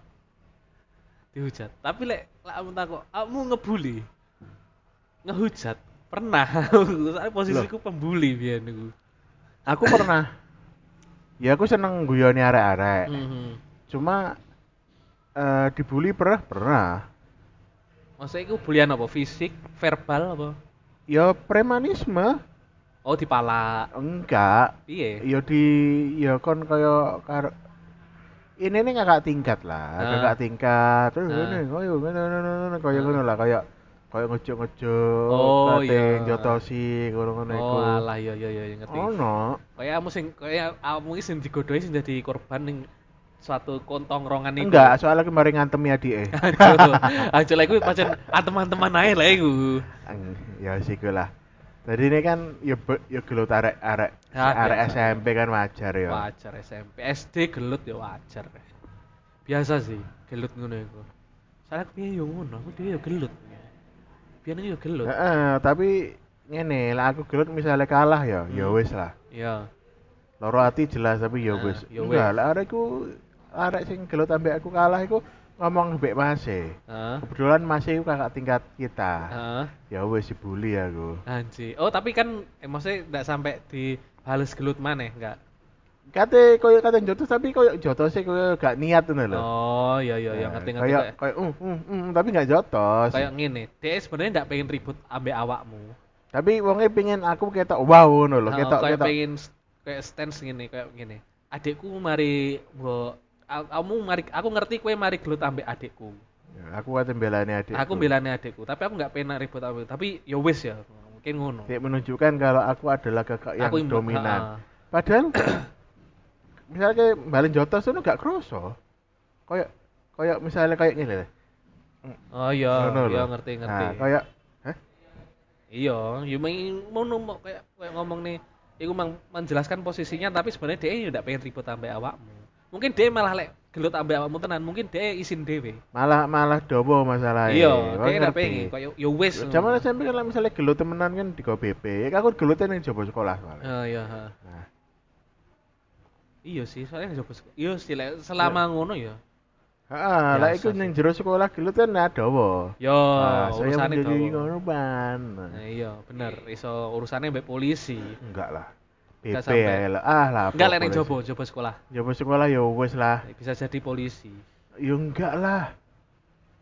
Speaker 1: Dihujat. Tapi lek lek kamu takok, kamu ngebully. Ngehujat. Pernah. Soalnya posisiku pembuli biyen niku.
Speaker 2: Aku pernah. Ya aku seneng guyoni arek-arek.
Speaker 1: Heeh.
Speaker 2: cuma eh dibully pernah pernah
Speaker 1: Maksudnya iku bulian apa? Fisik, verbal apa?
Speaker 2: ya premanisme
Speaker 1: Oh dipalak.
Speaker 2: enggak
Speaker 1: Piye?
Speaker 2: ya di ya kon kaya karo ini nih kakak tingkat lah
Speaker 1: Ah.
Speaker 2: kakak tingkat terus
Speaker 1: Ah.
Speaker 2: ini oh yo ngono ngono ngono, kaya
Speaker 1: Ah.
Speaker 2: ngono lah kaya kayak ngejok-ngejok
Speaker 1: Oh,
Speaker 2: kateng
Speaker 1: iya.
Speaker 2: jotosi ngono-ngono iku Oh,
Speaker 1: oh alah iya iya iya ngerti
Speaker 2: ono
Speaker 1: kayak kamu sing kayak kamu iki sing digodoi sing jadi korban ning suatu kontongrongan itu
Speaker 2: enggak soalnya kemarin ngantemi adike
Speaker 1: Aduh, aja lah iku pancen antem-anteman ae lah iku.
Speaker 2: Eng, ya siku lah tadi ini kan ya be- ya gelut arek arek
Speaker 1: Ya,
Speaker 2: arek
Speaker 1: biasa.
Speaker 2: SMP kan wajar ya
Speaker 1: Wajar SMP, SD gelut ya wajar. Biasa sih, gelut ngono iku. Soalnya aku piye yo ngono, aku dhewe yo gelut. Biyen yo gelut.
Speaker 2: Heeh, tapi ngene lah aku gelut misalnya kalah ya ya
Speaker 1: Hmm.
Speaker 2: wis lah
Speaker 1: Iya.
Speaker 2: loro hati jelas tapi ya
Speaker 1: Nah,
Speaker 2: wis
Speaker 1: ya
Speaker 2: enggak
Speaker 1: wis.
Speaker 2: lah arek ku arek sing gelut ambek aku kalah iku ngomong mbek Mase
Speaker 1: Heeh.
Speaker 2: kebetulan Mase iku kakak tingkat kita
Speaker 1: Heeh.
Speaker 2: ya wis dibully aku
Speaker 1: Anji. Oh, tapi kan eh, maksudnya enggak sampai dibales gelut maneh, enggak.
Speaker 2: kate koyo kate jotos tapi koyo jotos sih koyo gak niat ngono lho
Speaker 1: Oh, iya iya iya
Speaker 2: Nah,
Speaker 1: ngerti ngerti.
Speaker 2: koyo
Speaker 1: kayak-
Speaker 2: koyo mm, mm, mm, tapi gak jotos
Speaker 1: Kayak ngene, dia sebenarnya enggak pengen ribut ambek awakmu.
Speaker 2: tapi wonge pengen aku ketok wow ngono lho
Speaker 1: Heeh,
Speaker 2: ketok
Speaker 1: Oh, kayak
Speaker 2: ketok
Speaker 1: pengen s- kayak stance gini kayak gini adikku mari mbok a- kamu mari aku ngerti kue mari gelut ambek adikku
Speaker 2: Ya, aku kate mbelani adik
Speaker 1: aku belane adikku tapi aku nggak pengen ribut ambek tapi ya wis ya mungkin ngono
Speaker 2: Dia menunjukkan kalau aku adalah kakak yang
Speaker 1: Aku yang-
Speaker 2: dominan.
Speaker 1: ha-ha.
Speaker 2: Padahal misalnya kayak balen jotos itu gak kroso. Kayak kayak misalnya kayak gini lah.
Speaker 1: oh iya
Speaker 2: Ngono
Speaker 1: iya
Speaker 2: lho.
Speaker 1: ngerti ngerti
Speaker 2: Nah, kayak heh,
Speaker 1: iya ya main ngono mo- kayak kayak ngomong nih iku mang menjelaskan posisinya tapi sebenarnya dia ya nggak pengen ribut ambek awakmu mungkin dia malah lek gelut ambek awakmu tenan mungkin dia izin dewe
Speaker 2: malah malah dobo masalah
Speaker 1: iya dia nggak pengen kayak ya wis
Speaker 2: Zaman SMP kan lah misalnya gelut temenan kan di BP, aku gelutnya yang coba sekolah soalnya.
Speaker 1: oh iya ha.
Speaker 2: Nah,
Speaker 1: Iya sih, soalnya nggak coba sekolah. Iya sih, lek selama ngono ya.
Speaker 2: heeh, lah
Speaker 1: Biasa
Speaker 2: iku
Speaker 1: sih.
Speaker 2: ning jero sekolah gelut kan ada dobo.
Speaker 1: Ya, Yo,
Speaker 2: Nah, saya
Speaker 1: urusannya
Speaker 2: menjadi
Speaker 1: dawa.
Speaker 2: korban.
Speaker 1: Nah, iya, bener. Iso urusannya mbek polisi.
Speaker 2: Enggak lah.
Speaker 1: Nggak
Speaker 2: BP
Speaker 1: sampai.
Speaker 2: ya lah. Ah lah.
Speaker 1: Enggak
Speaker 2: apa
Speaker 1: lek nek
Speaker 2: boleh
Speaker 1: jobo,
Speaker 2: sih.
Speaker 1: jobo sekolah.
Speaker 2: Jobo sekolah ya wes lah.
Speaker 1: Bisa jadi polisi.
Speaker 2: Ya enggak lah.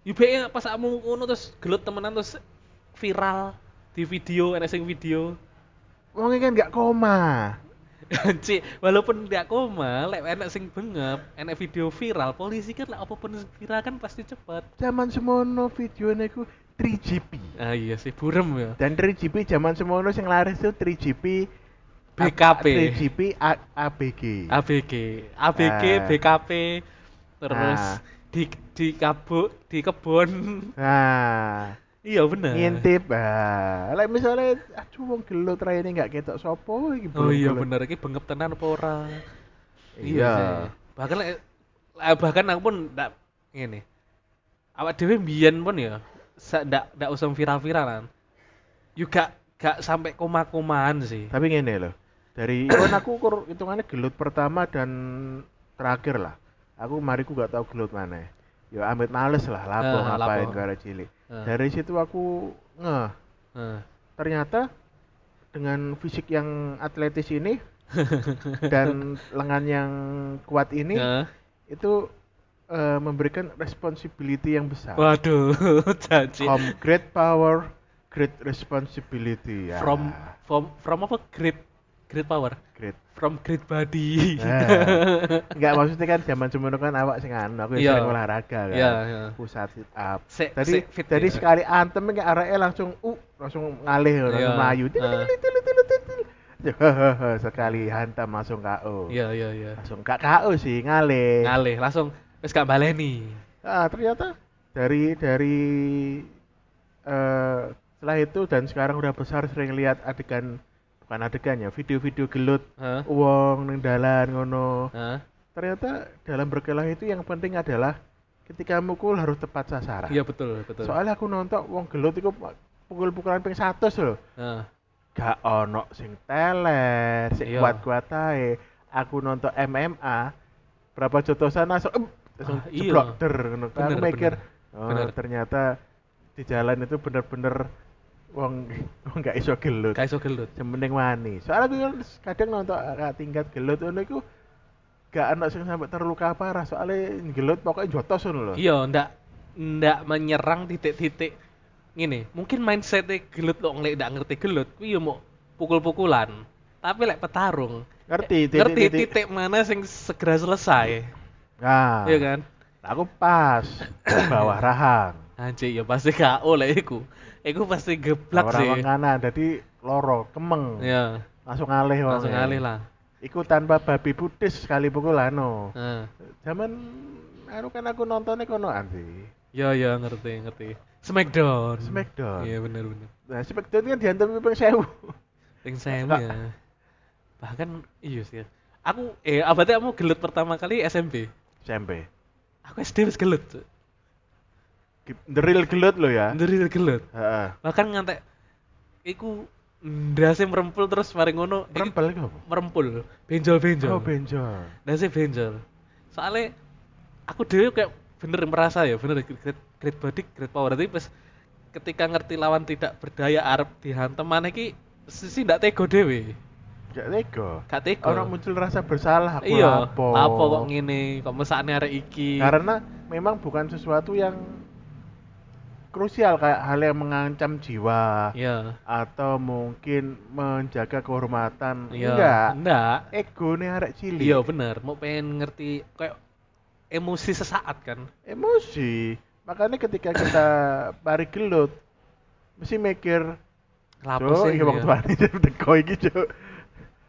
Speaker 1: UBE pas kamu ngono terus gelut temenan terus viral di video, enek sing video.
Speaker 2: Wong iki kan enggak koma.
Speaker 1: Cik, walaupun nggak koma, lek enek sing bengep, enek video viral, polisi kan lek apapun sing viral kan pasti cepet.
Speaker 2: Zaman semono videonya iku 3GP.
Speaker 1: Ah iya sih, burem ya.
Speaker 2: Dan 3GP zaman semono sing laris tuh 3GP
Speaker 1: BKP.
Speaker 2: 3GP A- ABG.
Speaker 1: ABG, ABG,
Speaker 2: Ah.
Speaker 1: BKP, terus
Speaker 2: Ah.
Speaker 1: di di kabuk, di kebun.
Speaker 2: Nah,
Speaker 1: iya bener.
Speaker 2: ngintip. Ah, like misalnya aduh wong gelut ra ini enggak ketok sapa iki.
Speaker 1: Oh iya
Speaker 2: belum-belum.
Speaker 1: bener, ini bengep tenan apa ora?
Speaker 2: Iya.
Speaker 1: sih. Bahkan lek- eh, bahkan aku pun ndak ngene. Awak dhewe mbiyen pun ya sa- ndak ndak usah viral-viralan. Juga gak sampai koma-komaan sih.
Speaker 2: Tapi ngene loh. Dari kan aku kur hitungannya gelut pertama dan terakhir lah. Aku mariku gak tahu gelut mana. Ya amit males lah lapo
Speaker 1: Eh,
Speaker 2: ngapain
Speaker 1: lapo.
Speaker 2: karo cilik.
Speaker 1: Eh.
Speaker 2: Dari situ aku ngeh
Speaker 1: Heeh.
Speaker 2: ternyata dengan fisik yang atletis ini dan lengan yang kuat ini
Speaker 1: Heeh.
Speaker 2: itu eh, memberikan responsibility yang besar.
Speaker 1: Waduh, janji.
Speaker 2: From great power, great responsibility. Ya.
Speaker 1: From from from apa great great power?
Speaker 2: great.
Speaker 1: From great body.
Speaker 2: Nah, enggak maksudnya kan zaman semono kan awak sing anu
Speaker 1: Iya.
Speaker 2: aku yang sering olahraga kan.
Speaker 1: Iya, iya.
Speaker 2: Pusat sit up.
Speaker 1: Sik-
Speaker 2: Tadi
Speaker 1: sik fit
Speaker 2: tadi
Speaker 1: ya.
Speaker 2: sekali antem iki areke langsung uh langsung ngalih langsung
Speaker 1: Iya.
Speaker 2: melayu. Til,
Speaker 1: Ah.
Speaker 2: til, til, til, til, til. Hehehe, sekali hantam langsung KO.
Speaker 1: Iya iya iya.
Speaker 2: Langsung gak KO sih ngalih.
Speaker 1: Ngalih langsung wis gak baleni.
Speaker 2: Ah, ternyata dari dari eh setelah itu dan sekarang udah besar sering lihat adegan bukan adegan ya video-video gelut
Speaker 1: Heeh.
Speaker 2: uang neng dalan ngono
Speaker 1: Heeh.
Speaker 2: ternyata dalam berkelah itu yang penting adalah ketika mukul harus tepat sasaran.
Speaker 1: Iya betul betul.
Speaker 2: Soalnya aku nonton wong gelut iku pukul-pukulan ping 100 lho.
Speaker 1: Heeh.
Speaker 2: Gak ono sing teler, sing
Speaker 1: Iya.
Speaker 2: kuat-kuat ae. Aku nonton MMA berapa jotosan langsung em, langsung
Speaker 1: Ah, iya.
Speaker 2: jeblok der ngono. Aku
Speaker 1: Bener,
Speaker 2: mikir
Speaker 1: bener.
Speaker 2: oh,
Speaker 1: Bener.
Speaker 2: ternyata di jalan itu bener-bener wong wong gak iso gelut.
Speaker 1: Gak iso gelut.
Speaker 2: Sementing wani. Soalnya aku kan kadang nonton kakak tingkat gelut ngono iku gak ana sing sampai terluka parah soalnya gelut pokoknya jotos ngono lho.
Speaker 1: Iya ndak ndak menyerang titik-titik ngene. Mungkin mindsetnya gelut lo ngelek ndak ngerti gelut, kuwi yo mau pukul-pukulan. Tapi lek petarung
Speaker 2: Ngerti
Speaker 1: ngerti titik mana sing segera selesai.
Speaker 2: Nah,
Speaker 1: Iya kan?
Speaker 2: aku pas di bawah rahang.
Speaker 1: Anjir ya pasti KO lah iku. Iku pasti geblak
Speaker 2: Ora
Speaker 1: sih.
Speaker 2: wengana dadi loro, kemeng.
Speaker 1: Ya,
Speaker 2: Langsung alih
Speaker 1: langsung
Speaker 2: orangnya.
Speaker 1: alih lah.
Speaker 2: Iku tanpa babi putih sekali pukulano.
Speaker 1: Heeh.
Speaker 2: Zaman anu kan aku nontonnya konoan sih.
Speaker 1: Ya ya ngerti ngerti. Smackdown.
Speaker 2: Smackdown.
Speaker 1: Iya bener bener.
Speaker 2: Nah, Smackdown kan diantar pipeng sewu.
Speaker 1: Ring saya ya. Bahkan iya sih. Aku eh abate kamu gelut pertama kali SMP.
Speaker 2: SMP.
Speaker 1: Aku SD wis gelut. Cuk.
Speaker 2: Ge- The real gelut lo ya.
Speaker 1: Nderi gelut.
Speaker 2: Heeh.
Speaker 1: Bahkan ngantek iku ndase merempul terus mari ngono iku
Speaker 2: Rempel iku apa?
Speaker 1: merempul, benjol-benjol.
Speaker 2: Oh, benjol.
Speaker 1: Nasi benjol. Soalnya aku dhewe kayak bener merasa ya, bener great, great body, great power. Tapi pas ketika ngerti lawan tidak berdaya arep dihantem maneh iki sisi ndak tega dhewe.
Speaker 2: Gak tega.
Speaker 1: Gak tega.
Speaker 2: Orang muncul rasa bersalah aku
Speaker 1: iya,
Speaker 2: lapo.
Speaker 1: lapo kok ngene, kok mesakne arek iki.
Speaker 2: Karena memang bukan sesuatu yang krusial kayak hal yang mengancam jiwa
Speaker 1: Iya.
Speaker 2: atau mungkin menjaga kehormatan.
Speaker 1: Iya.
Speaker 2: Enggak.
Speaker 1: Enggak.
Speaker 2: Ego nih arek cilik.
Speaker 1: Iya bener, mau pengen ngerti kayak emosi sesaat kan.
Speaker 2: Emosi. Makanya ketika kita pari gelut mesti mikir
Speaker 1: Lapo
Speaker 2: Cuk,
Speaker 1: sih.
Speaker 2: iki iya, wong
Speaker 1: ya.
Speaker 2: tuane Cuk, teko iki cuk.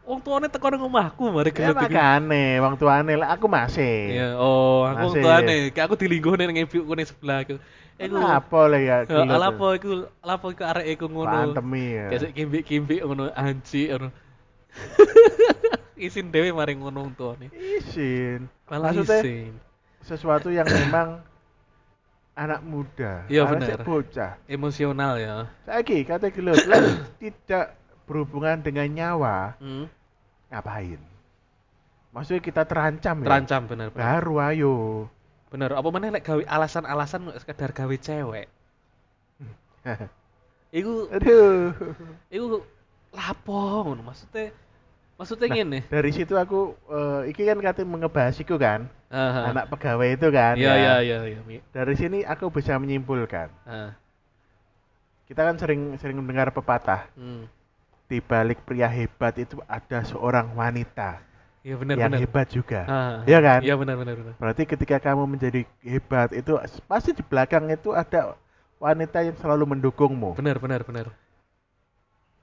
Speaker 1: Wong tuane teko nang omahku mari
Speaker 2: Ya
Speaker 1: gelut iki.
Speaker 2: makane wong tuane lah aku masih.
Speaker 1: Iya, oh, aku
Speaker 2: Masih.
Speaker 1: tuane, kayak aku dilingguhne nang ibuku ning sebelah aku. Iku
Speaker 2: Kenapa lah ya
Speaker 1: Eh,
Speaker 2: gelut?
Speaker 1: lapo iku lapo iku arek iku ngono.
Speaker 2: Pantemi ya.
Speaker 1: Kayak kimbik-kimbik ngono anji ngono. Isin dhewe mari ngono wong tuane.
Speaker 2: Isin.
Speaker 1: Malah
Speaker 2: Maksudnya-
Speaker 1: isin.
Speaker 2: Sesuatu yang memang anak muda,
Speaker 1: Iya,
Speaker 2: anak
Speaker 1: bener.
Speaker 2: sik bocah.
Speaker 1: Emosional ya.
Speaker 2: Saiki kata gelut lah tidak berhubungan dengan nyawa,
Speaker 1: Hmm.
Speaker 2: ngapain? Maksudnya kita terancam, ya.
Speaker 1: Terancam bener. Bener.
Speaker 2: Baru ayo.
Speaker 1: bener. Apa meneh lek gawe alasan-alasan kok sekedar gawe cewek. Iku
Speaker 2: Aduh.
Speaker 1: iku lapo ngono maksudnya maksudnya
Speaker 2: Nah,
Speaker 1: ngene.
Speaker 2: dari situ aku eh, iki kan kate mengebahasiku kan.
Speaker 1: Aha.
Speaker 2: anak pegawai itu kan
Speaker 1: Iya
Speaker 2: ya.
Speaker 1: iya iya iya. Mi.
Speaker 2: dari sini aku bisa menyimpulkan
Speaker 1: Ah,
Speaker 2: kita kan sering sering mendengar pepatah
Speaker 1: hmm.
Speaker 2: di balik pria hebat itu ada seorang wanita
Speaker 1: Iya bener
Speaker 2: yang
Speaker 1: bener.
Speaker 2: hebat juga
Speaker 1: Ah,
Speaker 2: Iya kan?
Speaker 1: Iya bener bener bener.
Speaker 2: berarti ketika kamu menjadi hebat itu pasti di belakang itu ada wanita yang selalu mendukungmu
Speaker 1: Bener bener bener.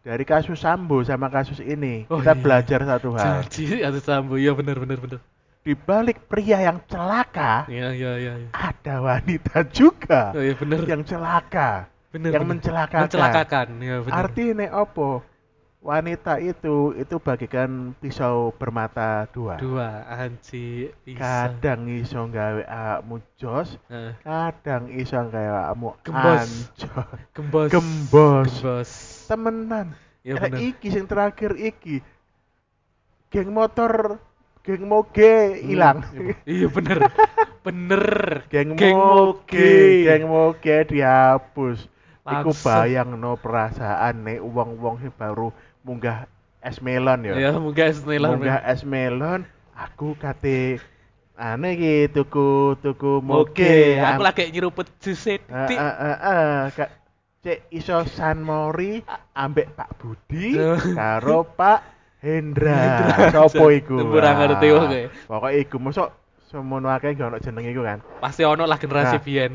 Speaker 2: dari kasus Sambo sama kasus ini
Speaker 1: Oh, iya.
Speaker 2: kita belajar satu hal
Speaker 1: Janji ada sambu. Iya bener bener bener.
Speaker 2: di balik pria yang celaka
Speaker 1: Iya iya iya. iya.
Speaker 2: ada wanita juga
Speaker 1: Oh iya bener.
Speaker 2: yang celaka
Speaker 1: bener,
Speaker 2: yang
Speaker 1: bener.
Speaker 2: mencelakakan.
Speaker 1: Mencelakakan. Iya bener.
Speaker 2: Artinya opo wanita itu itu bagikan pisau bermata dua.
Speaker 1: dua anji bisa.
Speaker 2: Kadang iso gawe awakmu jos,
Speaker 1: Heeh.
Speaker 2: kadang iso gawe awakmu
Speaker 1: Gembos.
Speaker 2: anjos.
Speaker 1: Gembos.
Speaker 2: Gembos. eh,
Speaker 1: Gembos.
Speaker 2: Temenan.
Speaker 1: Iya
Speaker 2: Lah,
Speaker 1: bener.
Speaker 2: iki sing terakhir iki. Geng motor, geng moge hilang.
Speaker 1: Hmm, Iya bener. bener.
Speaker 2: Geng, moge, geng moge dihapus. Iku
Speaker 1: Langsung.
Speaker 2: bayang no perasaan nih uang-uang sing baru munggah es melon ya.
Speaker 1: Ya moga senelan.
Speaker 2: Munggah es melon, aku kate aneh iki tuku tuku
Speaker 1: Oke,
Speaker 2: moge.
Speaker 1: aku
Speaker 2: Am-
Speaker 1: lagi nyeruput e, jus
Speaker 2: Eh,
Speaker 1: titik.
Speaker 2: eh, eh, eh, Kak- Cek iso San Mori ambek Pak Budi
Speaker 1: Duh.
Speaker 2: karo Pak Hendra.
Speaker 1: Hendra.
Speaker 2: Sopo iku? Ah,
Speaker 1: Tempur ra ngerti wong e. kowe.
Speaker 2: Pokoke iku mosok semono akeh gak ono jeneng iku kan.
Speaker 1: Pasti ono lah generasi
Speaker 2: Nah.
Speaker 1: biyen.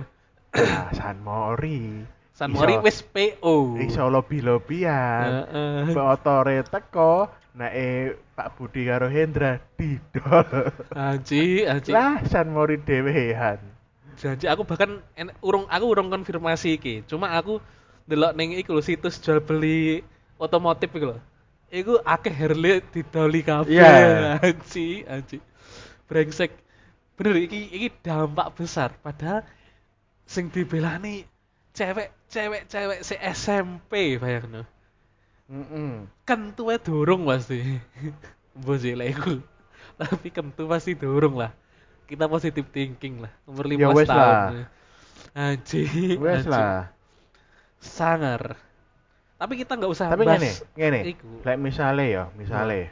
Speaker 2: Nah, San Mori.
Speaker 1: San
Speaker 2: Iso-
Speaker 1: Mori wis PO.
Speaker 2: iso lobi-lobian.
Speaker 1: Heeh.
Speaker 2: Otore teko, nae Pak Budi karo Hendra didol.
Speaker 1: Anji, anji.
Speaker 2: Lah San Mori dhewean.
Speaker 1: janji aku bahkan en- urung aku urung konfirmasi iki cuma aku delok ning iku lho, situs jual beli otomotif iku lho iku akeh Harley didoli kabeh
Speaker 2: Iya.
Speaker 1: anji anji brengsek bener iki iki dampak besar padahal sing dibelani cewek cewek cewek se SMP bayangno
Speaker 2: Mm-mm.
Speaker 1: kentuwe dorong pasti mbok sih lah iku tapi kentu pasti dorong lah kita positive thinking lah umur
Speaker 2: Ya,
Speaker 1: 15
Speaker 2: wes
Speaker 1: tahun
Speaker 2: lah.
Speaker 1: anjing
Speaker 2: Wes
Speaker 1: anjing.
Speaker 2: lah.
Speaker 1: sangar tapi kita nggak usah
Speaker 2: Tapi
Speaker 1: bahas
Speaker 2: ngene, ngene.
Speaker 1: iku. Iya.
Speaker 2: Lek misale ya, misale.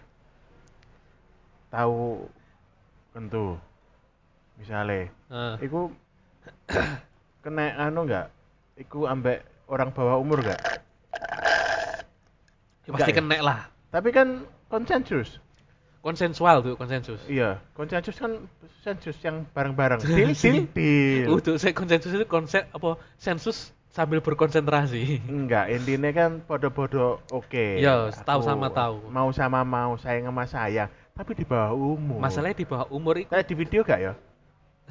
Speaker 2: Tahu kentu. Misale,
Speaker 1: Heeh.
Speaker 2: iku kena anu enggak? Iku ambek orang bawah umur enggak?
Speaker 1: Ya, pasti
Speaker 2: enggak ya?
Speaker 1: kena lah
Speaker 2: Tapi kan konsensus.
Speaker 1: konsensual tuh konsensus
Speaker 2: Iya, konsensus kan konsensus yang bareng-bareng. Deal, deal, deal.
Speaker 1: Udah, saya konsensus itu konsep apa sensus sambil berkonsentrasi.
Speaker 2: Enggak, intinya kan podo-podo oke.
Speaker 1: Iya, tahu
Speaker 2: Aku
Speaker 1: sama tahu.
Speaker 2: Mau sama mau, sayang sama sayang. Tapi di bawah umur.
Speaker 1: Masalahnya di bawah umur itu
Speaker 2: Lek di video gak ya?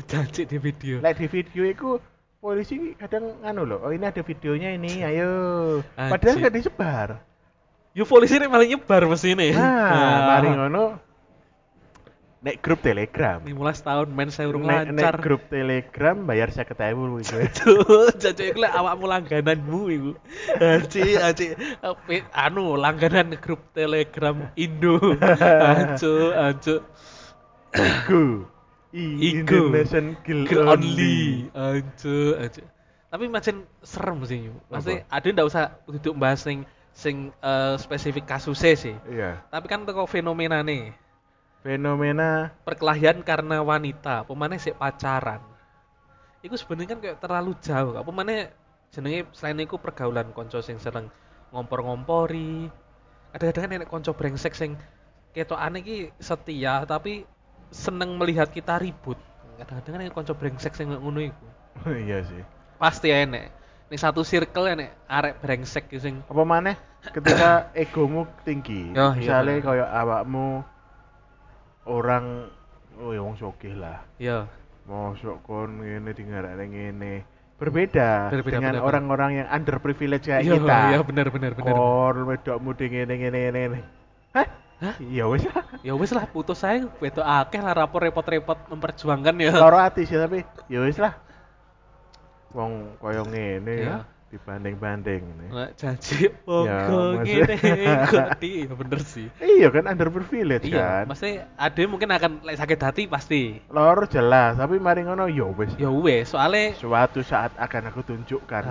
Speaker 1: janji di video.
Speaker 2: Lek di video itu polisi kadang nganu loh. Oh, ini ada videonya ini, ayo.
Speaker 1: Anjir.
Speaker 2: Padahal gak disebar.
Speaker 1: Yo polisi ini malah nyebar mesine.
Speaker 2: Nah,
Speaker 1: Ah.
Speaker 2: mari ngono. Nek grup Telegram.
Speaker 1: Ini mulai setahun main saya urung
Speaker 2: Nek, nek
Speaker 1: lancar.
Speaker 2: grup Telegram bayar 50.000 gitu.
Speaker 1: Cuk, Cuk, iku lek awakmu langgananmu iku. Aci, aci. Api- Anu, langganan grup Telegram Indo. Acu, acu.
Speaker 2: Iku. I-
Speaker 1: Iku.
Speaker 2: Indonesian Girl,
Speaker 1: Girl
Speaker 2: Only.
Speaker 1: only. Aduh, aduh. Tapi macam serem sih yuk. Maksudnya ada ndak usah duduk bahas sing sing eh, spesifik kasusnya sih.
Speaker 2: Iya.
Speaker 1: Tapi kan teko fenomena nih
Speaker 2: Fenomena
Speaker 1: perkelahian karena wanita, pemane sik pacaran. Iku sebenarnya kan kayak terlalu jauh. Apa mana jenenge selain iku pergaulan konco sing seneng ngompor-ngompori. Kadang-kadang kan enek konco brengsek sing ketokane iki setia tapi seneng melihat kita ribut. Kadang-kadang kan enek konco brengsek sing kayak ngono iku.
Speaker 2: Oh, iya sih.
Speaker 1: Pasti ya enek. Ini satu circle enek arek brengsek iki sing
Speaker 2: apa maneh ketika egomu tinggi
Speaker 1: Oh, iya,
Speaker 2: misalnya
Speaker 1: bener.
Speaker 2: kayak awakmu orang oh ya wong sugih lah
Speaker 1: ya
Speaker 2: mosok kon ngene dengarane ngene berbeda,
Speaker 1: Berbeda,
Speaker 2: dengan
Speaker 1: bener,
Speaker 2: orang-orang yang underprivileged kayak
Speaker 1: Iya,
Speaker 2: kita Oh.
Speaker 1: iya, bener bener bener.
Speaker 2: kon wedokmu di ngene ngene ngene ngene. hah
Speaker 1: Hah?
Speaker 2: ya wis lah
Speaker 1: Ya wis lah putus saya beto akeh lah rapor repot-repot memperjuangkan ya.
Speaker 2: loro ati sih tapi ya wis lah wong koyo ngene
Speaker 1: Iya.
Speaker 2: ya dibanding-banding ngene.
Speaker 1: Nggak janji monggo
Speaker 2: Ya, maksudnya-
Speaker 1: ngene ngerti ya bener sih.
Speaker 2: iya kan underprivileged
Speaker 1: Iya,
Speaker 2: kan
Speaker 1: maksudnya ada mungkin akan like, sakit hati pasti.
Speaker 2: lor jelas tapi mari ngono ya wis
Speaker 1: Ya wes, soalnya
Speaker 2: suatu saat akan aku tunjukkan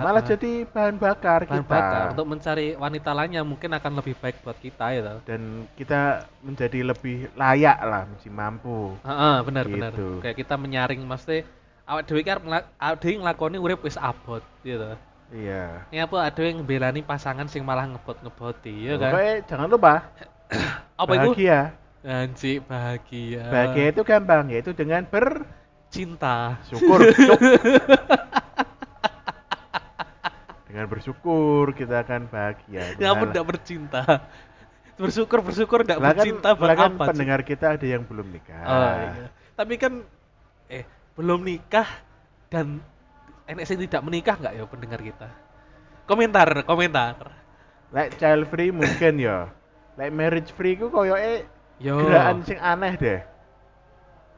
Speaker 1: Ah,
Speaker 2: malah
Speaker 1: ah.
Speaker 2: jadi bahan bakar
Speaker 1: bahan
Speaker 2: kita
Speaker 1: bakar untuk mencari wanita lainnya mungkin akan lebih baik buat kita ya toh.
Speaker 2: dan kita menjadi lebih layak lah masih mampu
Speaker 1: Heeh, benar benar.
Speaker 2: Gitu.
Speaker 1: Kayak kita menyaring mesti awak dhewe kan mela- awak dhewe nglakoni urip wis abot gitu.
Speaker 2: iya
Speaker 1: Ini apa ada yang ngebelani pasangan sing malah ngebot-ngeboti ya kan?
Speaker 2: Pokoknya jangan lupa
Speaker 1: Apa itu? Eh.
Speaker 2: bahagia
Speaker 1: Anji bahagia.
Speaker 2: bahagia itu gampang yaitu dengan bersyukur
Speaker 1: cinta.
Speaker 2: Cuk. dengan bersyukur kita akan bahagia
Speaker 1: Kamu
Speaker 2: Benar.
Speaker 1: tidak bercinta. Bersyukur bersyukur tidak
Speaker 2: Lah kan-
Speaker 1: bercinta buat
Speaker 2: lah kan
Speaker 1: apa? Ci?
Speaker 2: pendengar kita ada yang belum nikah
Speaker 1: Oh, iya. Tapi kan eh belum nikah dan enek sing tidak menikah nggak ya pendengar kita? Komentar, komentar.
Speaker 2: Like child free mungkin ya. Like marriage free ku koyoke
Speaker 1: Yo.
Speaker 2: gerakan sing aneh deh.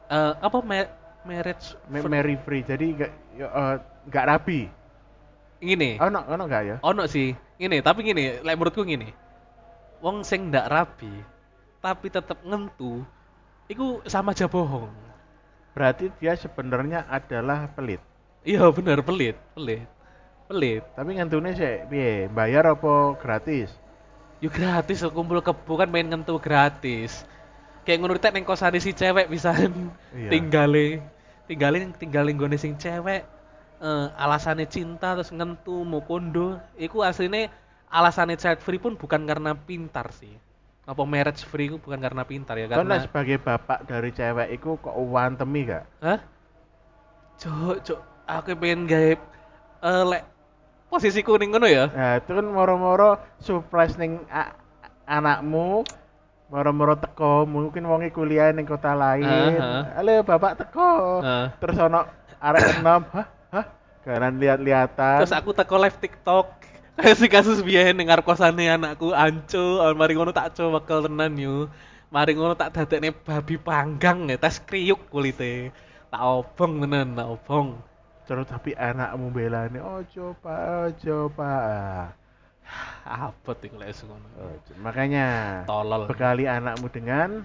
Speaker 1: Eh, apa ma- marriage
Speaker 2: Ma-
Speaker 1: for-
Speaker 2: Marry free. Jadi enggak ya, eh, enggak rapi.
Speaker 1: gini?
Speaker 2: Ono ono enggak ya?
Speaker 1: Ono sih. Gini, tapi gini, like menurutku gini. Wong sing ndak rapi tapi tetep ngentu iku sama aja bohong.
Speaker 2: Berarti dia sebenarnya adalah pelit.
Speaker 1: Iya bener pelit, pelit. Pelit.
Speaker 2: Tapi ngentune sik piye? Bayar apa gratis?
Speaker 1: Yo gratis loh, kumpul kebo kan main ngentu gratis. Kayak ngono tek neng kosane si cewek bisa
Speaker 2: Iya.
Speaker 1: tinggale tinggale tinggale nggone sing cewek eh alasannya cinta terus ngentu mau kondo iku aslinya alasannya child free pun bukan karena pintar sih apa marriage free itu bukan karena pintar ya karena
Speaker 2: Karena... sebagai bapak dari cewek iku kok wantemi gak?
Speaker 1: hah cok cok aku pengen gaib eh lek posisi kuning ngono ya
Speaker 2: Nah, itu kan moro-moro surprise ning a- anakmu moro-moro teko mungkin wonge kuliah ning kota lain.
Speaker 1: Aha.
Speaker 2: Halo bapak teko.
Speaker 1: Heeh.
Speaker 2: terus ono arek enam hah hah kanan lihat-lihatan
Speaker 1: Terus aku teko live TikTok. Kayak si kasus biyen dengar kosane anakku anco, oh, mari ngono tak coba bakal tenan yo. Mari ngono tak dadekne babi panggang ya, tes kriuk kulite. Tak obong tenan, tak obong.
Speaker 2: terus tapi anakmu belane ojo pak ojo pak
Speaker 1: Abot iku lek wis ngono.
Speaker 2: Ojo. makanya
Speaker 1: Tolol.
Speaker 2: bekali anakmu dengan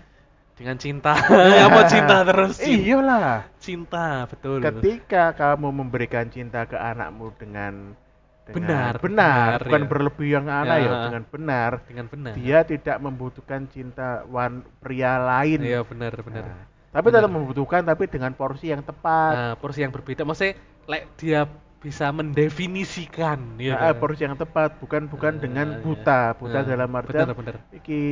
Speaker 1: Dengan cinta. ya mau cinta terus.
Speaker 2: Iya.
Speaker 1: Cinta,
Speaker 2: iyalah
Speaker 1: cinta betul.
Speaker 2: ketika kamu memberikan cinta ke anakmu dengan, dengan
Speaker 1: Benar,
Speaker 2: benar
Speaker 1: benar,
Speaker 2: bukan
Speaker 1: ya.
Speaker 2: berlebih yang aneh ya
Speaker 1: Ya.
Speaker 2: dengan benar
Speaker 1: Dengan benar.
Speaker 2: dia tidak membutuhkan cinta wan pria lain
Speaker 1: Iya benar benar.
Speaker 2: Nah, tapi
Speaker 1: Benar.
Speaker 2: tetap
Speaker 1: Ah,
Speaker 2: membutuhkan tapi dengan porsi yang tepat
Speaker 1: Nah, porsi yang berbeda. Maksudnya, lek dia bisa mendefinisikan ya
Speaker 2: Ah,
Speaker 1: kan?
Speaker 2: approach yang tepat bukan
Speaker 1: Ah,
Speaker 2: bukan dengan
Speaker 1: iya.
Speaker 2: buta
Speaker 1: Ah,
Speaker 2: buta dalam artian
Speaker 1: bener, bener.
Speaker 2: iki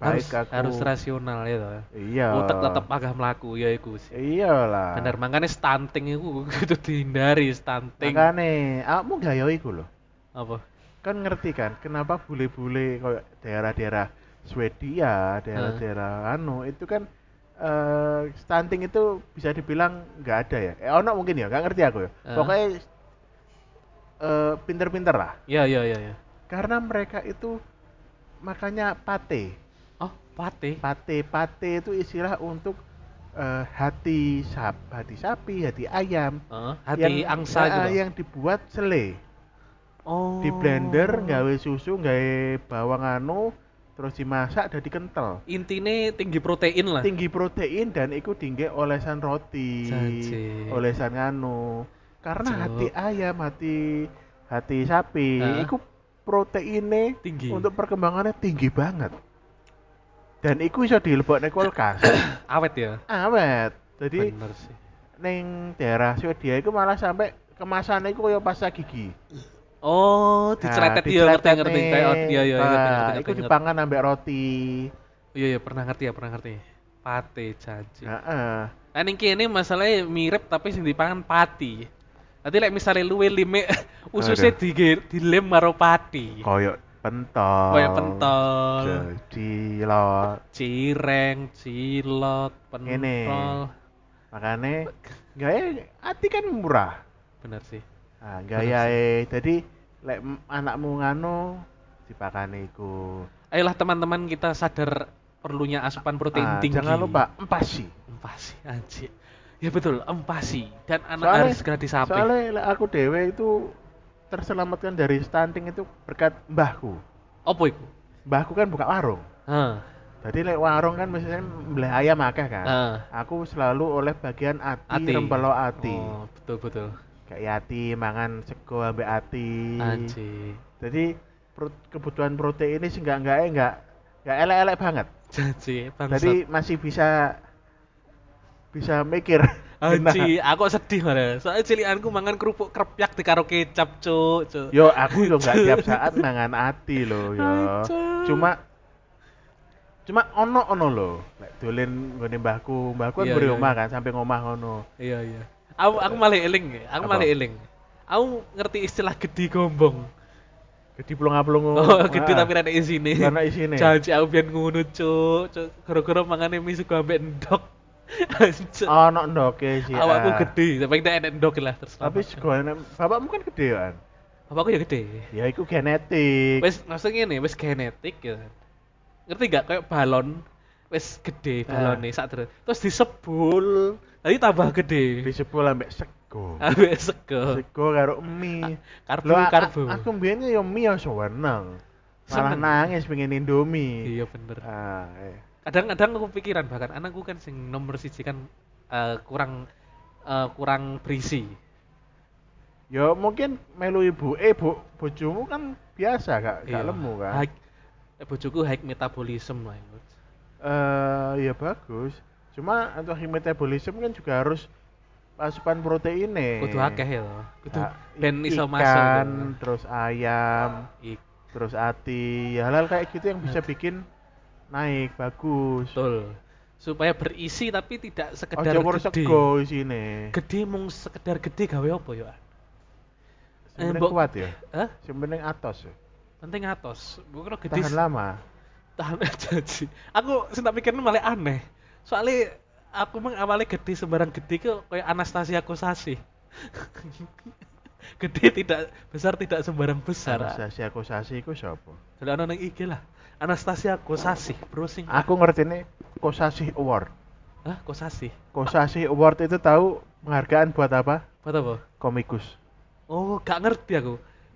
Speaker 1: harus
Speaker 2: baik aku
Speaker 1: harus rasional ya toh.
Speaker 2: iya
Speaker 1: Otak tetap agak melaku ya iku sih.
Speaker 2: iyalah
Speaker 1: Bener makanya stunting itu kudu dihindari stunting.
Speaker 2: makane kamu gak yo iku loh
Speaker 1: Apa?
Speaker 2: kan ngerti kan kenapa bule-bule kayak daerah-daerah Swedia daerah-daerah anu itu kan eh, stunting itu bisa dibilang nggak ada ya eh ono mungkin ya nggak ngerti aku ya
Speaker 1: Ah.
Speaker 2: pokoknya eh, pinter-pinter lah
Speaker 1: Ya ya ya ya.
Speaker 2: karena mereka itu makanya pate
Speaker 1: Oh, pate.
Speaker 2: pate pate itu istilah untuk eh, hati sap hati sapi hati ayam
Speaker 1: Heeh, hati
Speaker 2: yang-
Speaker 1: angsa
Speaker 2: ah,
Speaker 1: gitu.
Speaker 2: ah,
Speaker 1: loh.
Speaker 2: yang dibuat sele
Speaker 1: oh.
Speaker 2: di blender nggawe susu nggawe bawang anu terus dimasak jadi kental
Speaker 1: Intine tinggi protein lah.
Speaker 2: tinggi protein dan itu tinggi olesan roti
Speaker 1: Saji.
Speaker 2: olesan anu karena
Speaker 1: Cuk.
Speaker 2: hati ayam hati hati sapi
Speaker 1: Ah.
Speaker 2: itu proteinnya
Speaker 1: Tinggi.
Speaker 2: untuk perkembangannya tinggi banget dan itu bisa dilebokne kulkas
Speaker 1: Awet ya.
Speaker 2: awet jadi
Speaker 1: Bener sih.
Speaker 2: neng daerah Swedia itu malah sampai kemasannya itu kayak pasta gigi Nah,
Speaker 1: Oh, diceletet ya ngerti ngerti. Kayak oh, iya iya ngerti ngerti. ngerti,
Speaker 2: itu
Speaker 1: ngerti.
Speaker 2: dipangan ambek roti
Speaker 1: Iya iya pernah ngerti ya, pernah ngerti. Pate janji.
Speaker 2: nah, eh.
Speaker 1: Nah ning kene masalahnya mirip tapi sing dipangan pati. Nanti lek misalnya luwe lime ususnya
Speaker 2: Aduh. Oh,
Speaker 1: di dilem karo pati.
Speaker 2: koyok pentol
Speaker 1: Kayak Iya. pentol,
Speaker 2: jadi lo
Speaker 1: cireng, cilok, pentol.
Speaker 2: makanya gaya ati kan murah
Speaker 1: Bener sih.
Speaker 2: nah, gaya jadi lek m- anakmu nganu dipakane iku
Speaker 1: Ayolah teman-teman kita sadar perlunya asupan protein
Speaker 2: Ah,
Speaker 1: tinggi.
Speaker 2: jangan lupa empasi
Speaker 1: Empasi, anjir. Ya betul, empasi. Dan anak
Speaker 2: Soalnya-
Speaker 1: harus segera disapi.
Speaker 2: soalnya lek aku dewe itu terselamatkan dari stunting itu berkat mbahku
Speaker 1: Opo iku?
Speaker 2: mbahku kan buka warung
Speaker 1: Hah.
Speaker 2: jadi lek warung kan misalnya beli ayam akeh kan
Speaker 1: Ah.
Speaker 2: aku selalu oleh bagian ati,
Speaker 1: Ati.
Speaker 2: rempelo ati
Speaker 1: Oh, betul betul.
Speaker 2: kayak ya ati mangan sego ambek ati
Speaker 1: Anjir.
Speaker 2: jadi pro- kebutuhan protein ini enggak enggak enggak enggak elek-elek banget
Speaker 1: Janji, bangsat.
Speaker 2: jadi masih bisa bisa mikir
Speaker 1: Aji, Oh, aku sedih malah. Soalnya cilianku mangan kerupuk krepyak di karo kecap, cuk, cuk.
Speaker 2: Nah, yo aku yo enggak tiap saat mangan ati loh yo
Speaker 1: Ancur.
Speaker 2: cuma cuma ono ono lo Lek dolen gue mbahku mbahku kan
Speaker 1: Iya,
Speaker 2: beri
Speaker 1: iya,
Speaker 2: omah
Speaker 1: iya.
Speaker 2: kan sampai ngomah ono
Speaker 1: Iya, iya. Aku aku malah eling, ya. aku
Speaker 2: Apa?
Speaker 1: malah eling. Aku ngerti istilah gede gombong.
Speaker 2: gede Ah. plong plong
Speaker 1: Oh, gede tapi rada isine.
Speaker 2: nah. Karena isine.
Speaker 1: Janji aku biyen ngono, cuk, cuk. Gara-gara mangane mie sego ambek endok. Anjir.
Speaker 2: Ah, ono ndoke sih
Speaker 1: Awakku
Speaker 2: ah.
Speaker 1: gede, tapi kita enek endok lah terus.
Speaker 2: tapi sekolah bapakmu kan gede kan
Speaker 1: Bapakku ya gede.
Speaker 2: ya itu genetik
Speaker 1: Wes maksudnya ngene, wes genetik ya. Ngerti gak kayak balon wes gede
Speaker 2: Ah.
Speaker 1: balonnya sak terus terus disebul. Tadi tambah gede.
Speaker 2: disebut ambek sego
Speaker 1: Ambek sego.
Speaker 2: sego karo mie
Speaker 1: Karbo
Speaker 2: Loh, a- a-
Speaker 1: karbo.
Speaker 2: aku mbiyen yo mie yo seneng malah
Speaker 1: Seneng.
Speaker 2: nangis pengen indomie
Speaker 1: Iya bener.
Speaker 2: ah, eh.
Speaker 1: Kadang-kadang aku pikiran bahkan anakku kan sing nomor siji kan eh, kurang eh, kurang berisi.
Speaker 2: yo mungkin melu ibu eh bu bojomu kan biasa gak
Speaker 1: Iya.
Speaker 2: gak lemu kan
Speaker 1: High, eh, bojoku high metabolism lah. ya. itu.
Speaker 2: eh ya bagus cuma untuk metabolisme kan juga harus asupan proteine
Speaker 1: Kudu akeh ya. toh. Kudu
Speaker 2: Iya. Ah,
Speaker 1: ben
Speaker 2: i-
Speaker 1: iso masuk.
Speaker 2: ikan,
Speaker 1: toh.
Speaker 2: terus ayam
Speaker 1: Ik-
Speaker 2: terus ati ya hal kayak gitu yang bisa
Speaker 1: Nah,
Speaker 2: bikin naik bagus
Speaker 1: Betul. Supaya berisi tapi tidak sekedar
Speaker 2: Ojo karo
Speaker 1: gede.
Speaker 2: sego isine.
Speaker 1: Gede mung sekedar gede gawe apa ya? Eh,
Speaker 2: Sebenarnya
Speaker 1: mbok-
Speaker 2: kuat ya.
Speaker 1: Hah?
Speaker 2: Sebenarnya atos ya.
Speaker 1: Penting atos. Gue kira gede.
Speaker 2: Tahan lama.
Speaker 1: tahan aja sih. Aku sing tak pikirnya malah aneh. Soalnya aku emang awalnya gede sembarang gede ke kayak Anastasia Kosasi. gede tidak besar tidak sembarang besar.
Speaker 2: Sasi aku sasi iku sapa?
Speaker 1: Kalau ana nang IG lah. Anastasia Kosasi, browsing.
Speaker 2: Aku ngerti nih Kosasi Award.
Speaker 1: Hah, Kosasi.
Speaker 2: Kosasi Award itu tahu penghargaan buat apa?
Speaker 1: Apa apa?
Speaker 2: Komikus.
Speaker 1: Oh, gak ngerti aku.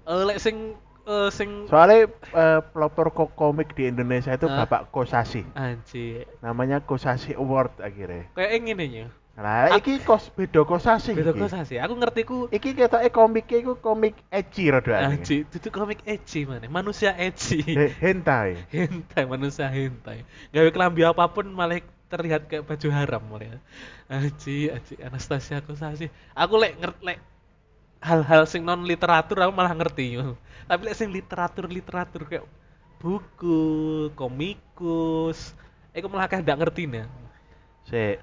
Speaker 1: Eh lek sing eh, sing
Speaker 2: Soalnya eh, pelopor ko- komik di Indonesia itu
Speaker 1: Hah?
Speaker 2: Bapak Kosasi.
Speaker 1: anjir.
Speaker 2: Namanya Kosasi Award akhirnya.
Speaker 1: Kayak yang ini ya.
Speaker 2: Nah,
Speaker 1: Ah.
Speaker 2: iki kos beda Kosasi.
Speaker 1: Beda
Speaker 2: iki.
Speaker 1: Kosasi. Aku ngerti ku
Speaker 2: Iki ketoke komiknya iku komik edgy rada
Speaker 1: anjir, Ah, itu komik ecchi mana? Manusia ecchi.
Speaker 2: He- Hentai.
Speaker 1: hentai manusia hentai gawe kelambi apapun malah terlihat kayak Ah, baju haram malah aji aji Anastasia aku sih aku lek ngerti lek hal-hal sing non literatur aku malah ngerti yo. tapi lek sing literatur literatur kayak buku komikus aku malah kayak ndak ngerti nih
Speaker 2: Sik.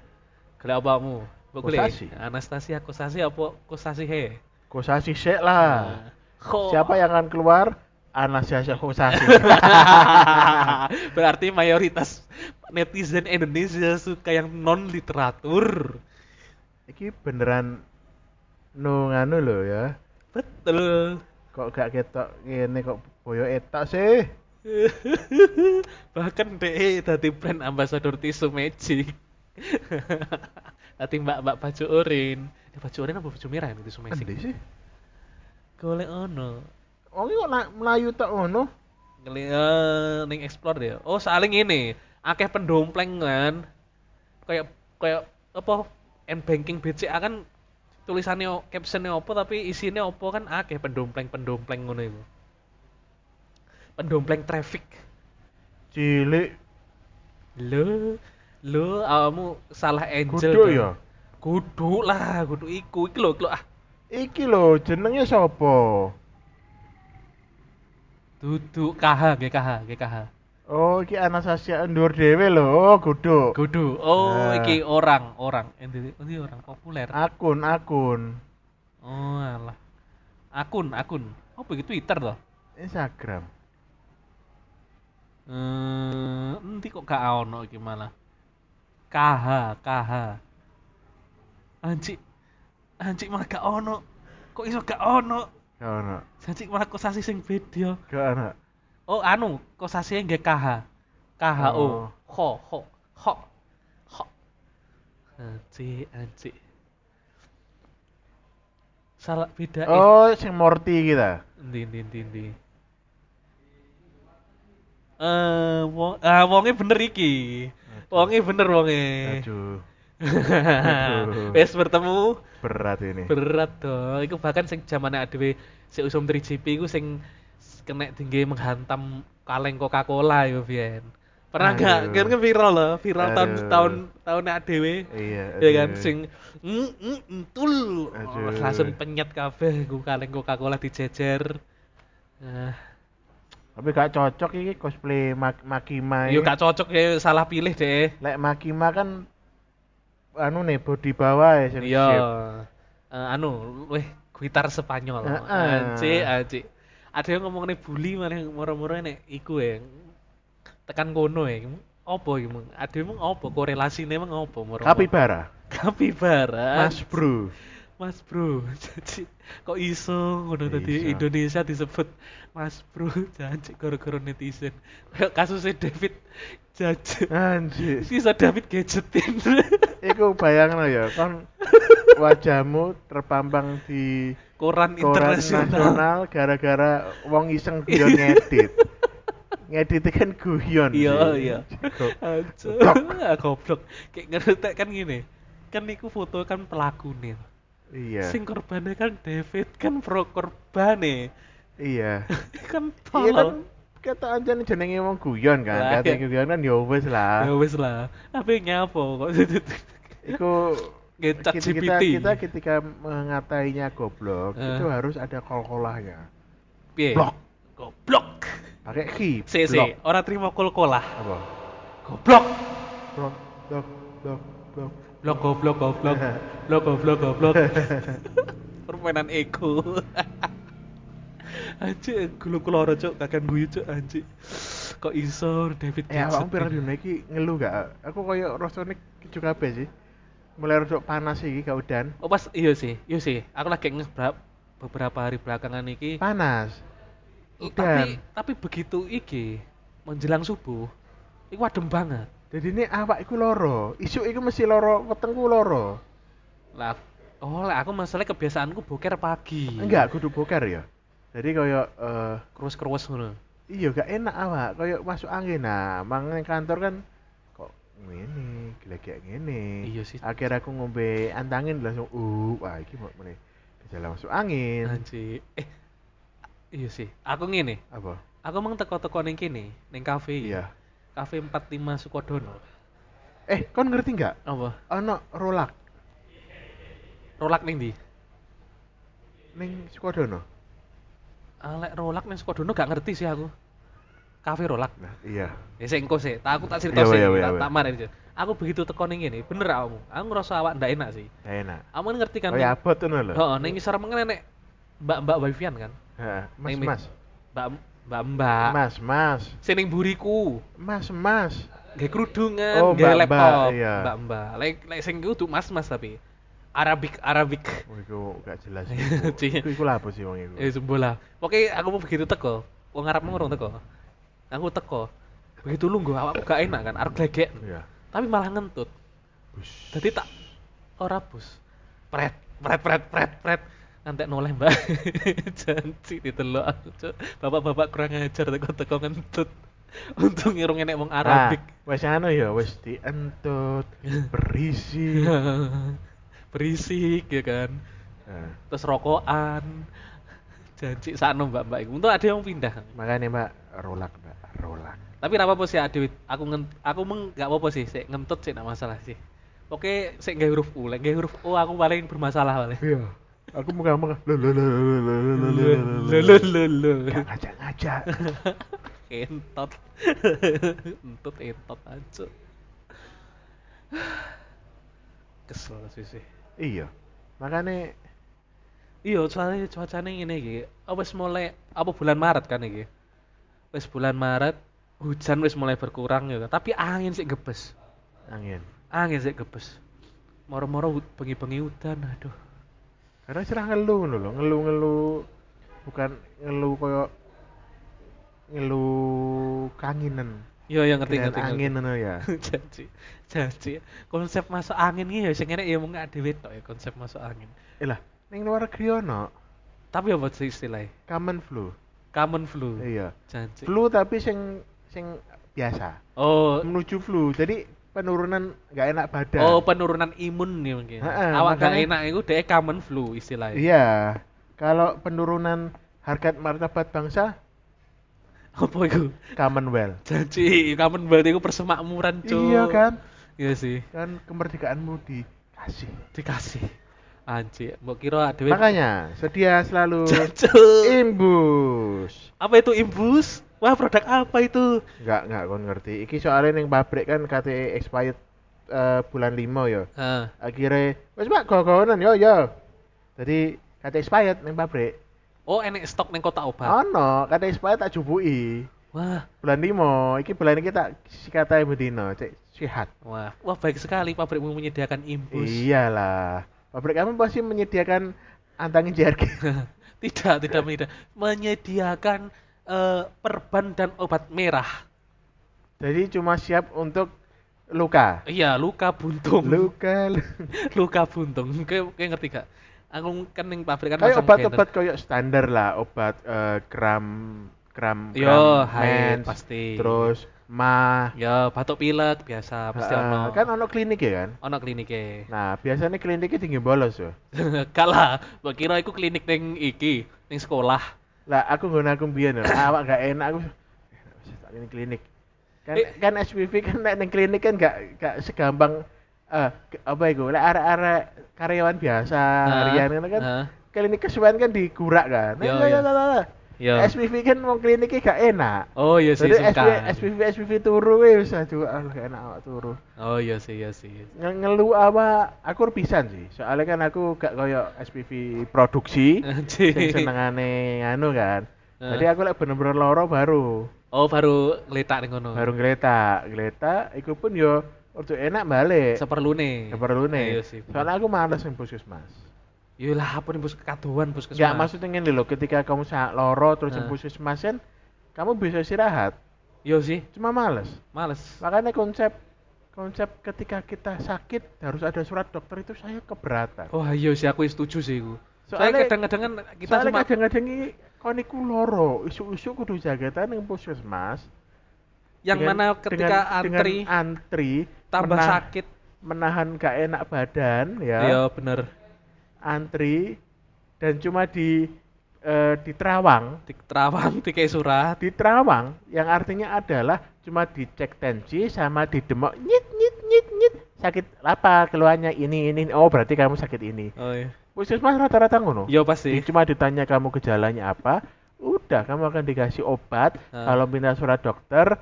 Speaker 1: kalau apamu
Speaker 2: Kosasi.
Speaker 1: Anastasia Kosasi apa Kosasi he
Speaker 2: Kosasi sik
Speaker 1: Ah.
Speaker 2: lah.
Speaker 1: Ko-
Speaker 2: Ah. Siapa yang akan keluar? Anastasia Kosasi.
Speaker 1: Berarti mayoritas netizen Indonesia suka yang non literatur.
Speaker 2: Iki beneran nu nganu lho ya.
Speaker 1: Betul.
Speaker 2: Kok gak ketok ngene kok boyo etok sih.
Speaker 1: Bahkan DE tadi brand ambassador tisu magic. Tadi mbak-mbak baju urin. Eh, baju urin apa baju merah ini tisu magic?
Speaker 2: Endi sih?
Speaker 1: Golek ono.
Speaker 2: Wong iki kok na- melayu tok ngono.
Speaker 1: Golek eh, ning explore dia. Oh, saling ini. Akeh pendompleng kan. Kayak kayak apa? M banking BCA kan tulisannya captionnya apa tapi isinya apa kan akeh pendompleng-pendompleng ngono itu. Pendompleng traffic.
Speaker 2: Cilik
Speaker 1: Lo, lo awakmu salah angel.
Speaker 2: kudu
Speaker 1: tuh.
Speaker 2: ya.
Speaker 1: Kudu lah, kudu iku iki lho, iki lho ah.
Speaker 2: Iki lho jenenge sapa?
Speaker 1: Duduk KH, GKH, GKH.
Speaker 2: Oh, iki Anastasia ndur dhewe lho, kudu.
Speaker 1: Kudu. Oh,
Speaker 2: Nah.
Speaker 1: iki orang, orang. Endi endi orang populer.
Speaker 2: Akun, akun.
Speaker 1: Oh, alah. Akun, akun. Apa iki Twitter toh?
Speaker 2: Instagram.
Speaker 1: Eh, nanti kok gak ono iki malah. KH, KH. Anjing. Anjing malah gak ono. Kok iso gak ono?
Speaker 2: Gak ono.
Speaker 1: Anjing malah kosasi sing beda.
Speaker 2: Gak ono.
Speaker 1: Oh anu, kosasinya nggak KH. KHO.
Speaker 2: Oh.
Speaker 1: Ho, ho, ho. Ho. Anci, anci. Salah beda eh,
Speaker 2: Oh, sing Morty kita.
Speaker 1: Ndi, ndi, ndi, ndi. Eh, wong, ah, wonge bener iki. Wonge bener wonge.
Speaker 2: Aduh, aduh.
Speaker 1: Wes bertemu
Speaker 2: berat ini.
Speaker 1: berat toh. Iku bahkan sing zamane dhewe sik usum 3GP iku sing s- kena dingge menghantam kaleng Coca-Cola yo biyen. Pernah
Speaker 2: Aduh.
Speaker 1: gak kan kan viral loh, viral tahun
Speaker 2: Aduh.
Speaker 1: tahun tahun nek dhewe.
Speaker 2: Iya,
Speaker 1: Ya kan
Speaker 2: aduh.
Speaker 1: sing mm, mm, entul Oh,
Speaker 2: Aduh.
Speaker 1: langsung penyet kabeh iku kaleng Coca-Cola dijejer. Nah,
Speaker 2: Tapi gak cocok iki cosplay mak Makima.
Speaker 1: yo
Speaker 2: iki.
Speaker 1: gak cocok ya salah pilih deh.
Speaker 2: Lek Makima kan anu nih body bawah ya sing
Speaker 1: Iya.
Speaker 2: shape.
Speaker 1: Eh, anu, weh gitar Spanyol.
Speaker 2: Heeh.
Speaker 1: Anci, anci. Ada yang ngomong nih bully mana moro-moro nek iku ya. Tekan kono ya. Apa iki mung? Ada emang apa korelasinya emang apa moro?
Speaker 2: Kapibara.
Speaker 1: Kapibara.
Speaker 2: Mas Bro.
Speaker 1: Mas Bro. Janji. Kok iso ngono tadi
Speaker 2: Iya Iso.
Speaker 1: Indonesia disebut Mas Bro. Janji gara-gara netizen. Kayak kasusnya David Jajet.
Speaker 2: Anjir.
Speaker 1: Bisa David gadgetin.
Speaker 2: Iku bayangno ya, kon wajahmu terpampang di
Speaker 1: Koran
Speaker 2: koran
Speaker 1: internasional.
Speaker 2: nasional gara-gara wong iseng guyon ngedit. ngedit kan guyon.
Speaker 1: Iya,
Speaker 2: sih.
Speaker 1: iya.
Speaker 2: Cukup.
Speaker 1: Aduh, Ah, goblok. Kayak ngerti kan gini. Kan niku foto kan pelaku nih.
Speaker 2: Iya.
Speaker 1: Sing korbannya kan David kan pro korbane.
Speaker 2: Iya.
Speaker 1: kan
Speaker 2: Iya kan
Speaker 1: tolong.
Speaker 2: kata anjane jenenge wong guyon
Speaker 1: Lah,
Speaker 2: kan. Kata
Speaker 1: iya.
Speaker 2: guyon kan ya wis
Speaker 1: Ya
Speaker 2: lah.
Speaker 1: wis lah. Tapi nyapo kok.
Speaker 2: Iku
Speaker 1: Nggak
Speaker 2: kita,
Speaker 1: chat
Speaker 2: kita,
Speaker 1: GPT.
Speaker 2: kita ketika mengatainya goblok
Speaker 1: Eh.
Speaker 2: itu harus ada kol-kolahnya.
Speaker 1: Piye?
Speaker 2: Blok.
Speaker 1: Goblok.
Speaker 2: Pakai ki.
Speaker 1: Si, si.
Speaker 2: blok.
Speaker 1: Orang terima kol-kolah.
Speaker 2: Apa?
Speaker 1: Goblok.
Speaker 2: Blok, blok, blok, blok.
Speaker 1: Blok, goblok, goblok. Blok, goblok, goblok. Permainan ego. Anjir, gulu keloro cuk, kakan guyu cuk anjir. Kok iso David
Speaker 2: Eh, awakmu
Speaker 1: Gadgetin?
Speaker 2: pirang dino iki ngeluh gak? Aku koyo rasane keju kabeh sih. Mulai rodok panas iki gak udan.
Speaker 1: Oh pas iya sih, iya sih. Aku lagi ngeh berap- beberapa hari belakangan iki.
Speaker 2: Panas.
Speaker 1: Tapi
Speaker 2: Udan.
Speaker 1: tapi begitu iki menjelang subuh, iku adem banget.
Speaker 2: Jadi ini awak iku loro, isuk iku mesti loro, wetengku loro.
Speaker 1: Lah oh lah aku masalah kebiasaanku boker pagi.
Speaker 2: Enggak, kudu boker ya. Jadi koyo eh
Speaker 1: Keruas-keruas ngono.
Speaker 2: iya gak enak awak koyo masuk angin nah mang nang kantor kan kok ngene gila-gila ngene
Speaker 1: Iya sih.
Speaker 2: akhir aku ngombe antangin langsung uh wah iki mau meneh gejala masuk angin
Speaker 1: Anjir. Eh iya sih. Aku ngene,
Speaker 2: apa
Speaker 1: aku emang teko-teko ning kene, ning kafe. iki.
Speaker 2: iya
Speaker 1: Kafe 45 Sukodono.
Speaker 2: eh kon ngerti nggak
Speaker 1: Apa?
Speaker 2: ono rolak
Speaker 1: Rolak ning ndi?
Speaker 2: Ning Sukodono. Ah,
Speaker 1: Alek rolak ning Sukodono gak ngerti sih aku. Kafe rolak.
Speaker 2: Nah, iya.
Speaker 1: Ya sing engko sih, tak aku tak cerita
Speaker 2: Iya,
Speaker 1: sih,
Speaker 2: iya, iya,
Speaker 1: tak,
Speaker 2: iya.
Speaker 1: tak marani sih. Aku begitu teko ning ngene, bener awakmu. Aku ngerasa awak ndak enak sih.
Speaker 2: Nggak enak.
Speaker 1: Aku kan ngerti kan.
Speaker 2: Oh, ya abot ngono lho.
Speaker 1: Heeh, ning ngisor mengen enek mbak-mbak wifian kan.
Speaker 2: Heeh. Mas,
Speaker 1: Ning- Ah.
Speaker 2: mas.
Speaker 1: Mbak mbak-mbak.
Speaker 2: Mas, mas.
Speaker 1: Sing ning buriku.
Speaker 2: Mas, mas.
Speaker 1: Gak kerudungan,
Speaker 2: Oh,
Speaker 1: gak
Speaker 2: mbak-mbak,
Speaker 1: laptop,
Speaker 2: iya.
Speaker 1: mbak-mbak. Like, like sing kudu mas-mas tapi Arabic, Arabic.
Speaker 2: Oh, iku gak jelas.
Speaker 1: Cih.
Speaker 2: Iku iku lah apa sih wong iku?
Speaker 1: Eh, bola. Oke, aku mau begitu teko. Wong ngarepmu ngurung teko. Aku teko. Begitu lungguh awakku gak enak kan, arep glegek.
Speaker 2: Iya.
Speaker 1: Tapi malah ngentut.
Speaker 2: Bus.
Speaker 1: Jadi tak ora bus. Pret, pret, pret, pret, pret. Nanti noleh mbak Janji ditelok aku Cuk. Bapak-bapak kurang ajar teko-teko ngentut Untung ngirung enek wong Arabik
Speaker 2: Nah, wis anu ya, wis dientut, berisi.
Speaker 1: Berisik ya kan
Speaker 2: Nah,
Speaker 1: Terus rokokan Janji sakno mbak-mbak iku Untung ada yang pindah
Speaker 2: makanya Mbak, rolak, Mbak, rolak.
Speaker 1: tapi nggak apa-apa sih Adit aku ngen aku meng nggak apa-apa sih sik ngentut sih nggak masalah sih oke sik nggak huruf u lek nggak huruf o aku paling bermasalah paling
Speaker 2: Iya. Aku muka-muka. Lo lo lo lo lo lo lo lo lo lo
Speaker 1: lo
Speaker 2: lo.
Speaker 1: lo lo
Speaker 2: Gak ngajak-ngajak.
Speaker 1: entot entut entot aja kesel sih sih
Speaker 2: Iya. Makanya
Speaker 1: iya soalnya cuacanya ini iki apa mulai apa bulan Maret kan iki wis bulan Maret hujan wis mulai berkurang ya kan. tapi angin sih gebes
Speaker 2: angin.
Speaker 1: angin sih gebes moro-moro hut- bengi-bengi udan aduh
Speaker 2: Karena cerah ngeluh ngono lho, ngeluh-ngeluh bukan ngeluh koyo ngeluh kanginan.
Speaker 1: iya iya ngerti
Speaker 2: Kena
Speaker 1: ngerti
Speaker 2: angin ngono ya.
Speaker 1: ngerti. janji janji konsep masuk angin ini ya sing enek ya mung gak dhewe tok ya konsep masuk angin
Speaker 2: Eh lah, ning luar negeri ono
Speaker 1: tapi apa sih istilahnya
Speaker 2: common flu.
Speaker 1: common flu
Speaker 2: Iya.
Speaker 1: janji
Speaker 2: Flu tapi sing sing biasa.
Speaker 1: oh
Speaker 2: Menuju flu. Jadi penurunan nggak enak badan.
Speaker 1: oh penurunan imun nih mungkin
Speaker 2: Heeh,
Speaker 1: awak gak
Speaker 2: makanya-
Speaker 1: enak itu deh common flu istilahnya
Speaker 2: Iya. Kalau penurunan harkat martabat bangsa
Speaker 1: apa itu
Speaker 2: Commonwealth.
Speaker 1: janji common berarti itu persemakmuran cuy
Speaker 2: Iya kan?
Speaker 1: iya sih
Speaker 2: Kan kemerdekaanmu dikasih.
Speaker 1: dikasih anjir mbok kira dhewe
Speaker 2: Makanya sedia selalu
Speaker 1: Jancuk.
Speaker 2: imbus.
Speaker 1: apa itu imbus wah produk apa itu
Speaker 2: Enggak, enggak kon ngerti. Iki soalnya ning pabrik kan kate expired eh, bulan 5 ya.
Speaker 1: Heeh.
Speaker 2: Akhirnya wis Pak gogonan yo yo. Jadi kate expired ning pabrik.
Speaker 1: oh enek stok neng kota obat
Speaker 2: Ono, kate expired tak jubuki.
Speaker 1: wah
Speaker 2: Bulan 5, iki bulan iki tak sikatae bedino, cek sihat.
Speaker 1: Wah, wah baik sekali pabrikmu menyediakan imbus.
Speaker 2: Iyalah. Pabrik kamu pasti menyediakan antangin JRG.
Speaker 1: tidak, tidak tidak menyediakan eh, perban dan obat merah.
Speaker 2: Jadi cuma siap untuk luka.
Speaker 1: Iya, luka buntung.
Speaker 2: Luka. lu-
Speaker 1: luka buntung. Kayak kayak ngerti gak? Aku kan ning pabrik kan
Speaker 2: Kayak
Speaker 1: masang
Speaker 2: obat-obat
Speaker 1: banner.
Speaker 2: kayak standar lah, obat eh, kram kram
Speaker 1: Yo,
Speaker 2: kram
Speaker 1: haid
Speaker 2: mens,
Speaker 1: pasti.
Speaker 2: Terus mah.
Speaker 1: Ya, batuk pilek biasa pasti
Speaker 2: eh,
Speaker 1: ono.
Speaker 2: Kan ono klinik ya kan?
Speaker 1: ono kliniknya.
Speaker 2: Nah, biasanya kliniknya tinggi bolos yo.
Speaker 1: Kalah, mbok kira iku klinik ning iki, ning sekolah.
Speaker 2: Lah aku nggon aku mbiyen lho. Ah, awak gak enak aku. Enak wis, tak ini klinik. Kan
Speaker 1: Eh.
Speaker 2: kan SPV kan nek ning klinik kan gak gak segampang eh ke- apa iku? Lek arek-arek karyawan biasa
Speaker 1: Ah,
Speaker 2: harian kan kan
Speaker 1: Heeh.
Speaker 2: klinik kesuwen kan digurak kan.
Speaker 1: Yo,
Speaker 2: Nah,
Speaker 1: yo.
Speaker 2: lah, lah, lah, lah.
Speaker 1: Yo.
Speaker 2: SPV kan mau kliniknya gak enak.
Speaker 1: Oh iya sih,
Speaker 2: Jadi SPV,
Speaker 1: sungkan.
Speaker 2: SPV, SPV turu wis aduh alah gak enak awak turu.
Speaker 1: Oh iya sih, iya sih.
Speaker 2: Nge- Ngeluh awak aku pisan sih. Soalnya kan aku gak koyo SPV produksi. sing senengane anu kan.
Speaker 1: Heeh.
Speaker 2: Jadi aku lek bener-bener loro baru,
Speaker 1: Oh baru ngeletak ning ngono.
Speaker 2: baru ngeletak, ngeletak iku pun yo ojo enak balik.
Speaker 1: seperlune. Iya
Speaker 2: Keperlune.
Speaker 1: sih.
Speaker 2: Soalnya aku males ning puskesmas.
Speaker 1: Yalah apa nih bos kekaduan bos
Speaker 2: Enggak maksudnya ngene lho, ketika kamu sa- loro terus ning
Speaker 1: Heeh.
Speaker 2: puskesmas kan kamu bisa istirahat,
Speaker 1: Yo sih,
Speaker 2: cuma males.
Speaker 1: males.
Speaker 2: Makanya konsep konsep ketika kita sakit harus ada surat dokter itu saya keberatan.
Speaker 1: Wah iya sih aku setuju sih aku. Soalnya
Speaker 2: Soalnya-
Speaker 1: kadang-kadang kan kita
Speaker 2: Soalnya
Speaker 1: cuma
Speaker 2: kadang-kadang iki kon iku loro, isu-isu kudu jagatan ning puskesmas.
Speaker 1: yang
Speaker 2: Dengan-
Speaker 1: mana ketika
Speaker 2: dengan- dengan
Speaker 1: antri
Speaker 2: antri
Speaker 1: tambah
Speaker 2: menah-
Speaker 1: sakit.
Speaker 2: menahan gak enak badan ya
Speaker 1: Iya bener.
Speaker 2: antri dan cuma di eh, di terawang
Speaker 1: Di terawang, di kayak surat.
Speaker 2: di terawang yang artinya adalah cuma dicek tensi sama didemok nyit nyit nyit nyit sakit apa keluhannya ini ini ini. oh berarti kamu sakit ini
Speaker 1: Oh iya.
Speaker 2: Puskesmas rata-rata ngono.
Speaker 1: Yo pasti.
Speaker 2: Di- Cuma ditanya kamu gejalanya apa, udah kamu akan dikasih obat.
Speaker 1: Ah.
Speaker 2: Kalau minta surat dokter,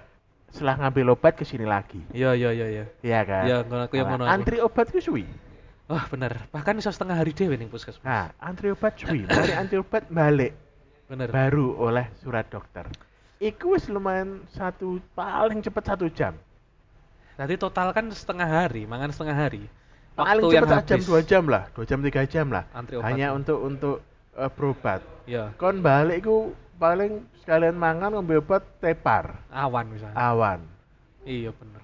Speaker 2: setelah ngambil obat ke sini lagi.
Speaker 1: Yo yo yo yo.
Speaker 2: Iya kan?
Speaker 1: Iya, ngono aku yang
Speaker 2: Nah,
Speaker 1: ngono aku.
Speaker 2: Antri obat ku suwi.
Speaker 1: Wah bener. Bahkan bisa setengah hari dhewe ning puskesmas.
Speaker 2: Nah, antri obat suwi, mari antri obat balik
Speaker 1: Bener.
Speaker 2: baru oleh surat dokter. Iku wis lumayan satu paling cepet satu jam.
Speaker 1: Tadi total kan setengah hari, mangan setengah hari.
Speaker 2: Paling cepet satu jam dua jam lah, dua jam tiga jam lah.
Speaker 1: Antri obat.
Speaker 2: Hanya untuk untuk eh, berobat.
Speaker 1: Yo.
Speaker 2: Kon balik ku paling sekalian mangan ngombe obat tepar
Speaker 1: Awan misalnya.
Speaker 2: awan.
Speaker 1: Iya bener.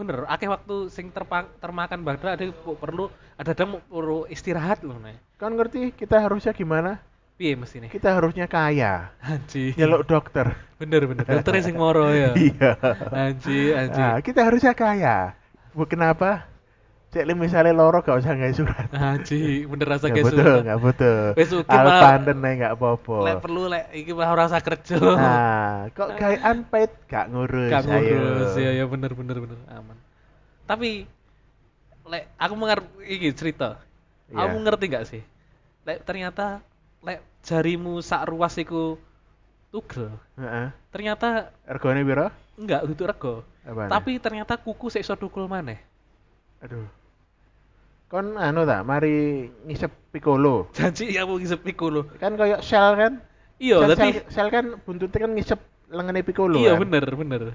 Speaker 1: Bener, akeh waktu sing terpa- termakan bakteri ada pu- perlu ada ada perlu istirahat loh nih.
Speaker 2: Kan ngerti kita harusnya gimana?
Speaker 1: Piye mesti nih?
Speaker 2: Kita harusnya kaya.
Speaker 1: Anji.
Speaker 2: Nyeluk dokter.
Speaker 1: Bener bener. Dokternya sing moro ya.
Speaker 2: Ya Iya.
Speaker 1: Anji, anji.
Speaker 2: Nah, kita harusnya kaya. Bu, kenapa? Cek li misalnya loro gak usah ngasih surat.
Speaker 1: Anji, bener rasa kayak
Speaker 2: Gak butuh, gak butuh.
Speaker 1: Wis sugih malah-
Speaker 2: Alpanten nih gak apa-apa.
Speaker 1: Lek perlu lek iki malah ora usah kerja.
Speaker 2: Nah, kok gayaan pet gak ngurus.
Speaker 1: Gak
Speaker 2: ayo.
Speaker 1: ngurus ya ya bener bener bener aman. Tapi lek aku mengerti iki cerita.
Speaker 2: Iya.
Speaker 1: Kamu ngerti gak sih? Lek ternyata lek jarimu sak ruas iku tugel.
Speaker 2: Heeh.
Speaker 1: Ternyata
Speaker 2: Ergone piro?
Speaker 1: enggak untuk rego.
Speaker 2: Apaan? ya?
Speaker 1: Tapi ternyata kuku sik iso dukul maneh.
Speaker 2: aduh. Kon anu tak, mari ngisep piccolo.
Speaker 1: Janji ya mau ngisep iku lho.
Speaker 2: Kan koyok shell kan?
Speaker 1: Iya,
Speaker 2: Sel-
Speaker 1: tapi
Speaker 2: sel, sel kan buntutnya kan ngisep lengene piccolo
Speaker 1: iya
Speaker 2: kan?
Speaker 1: bener bener.
Speaker 2: Nah,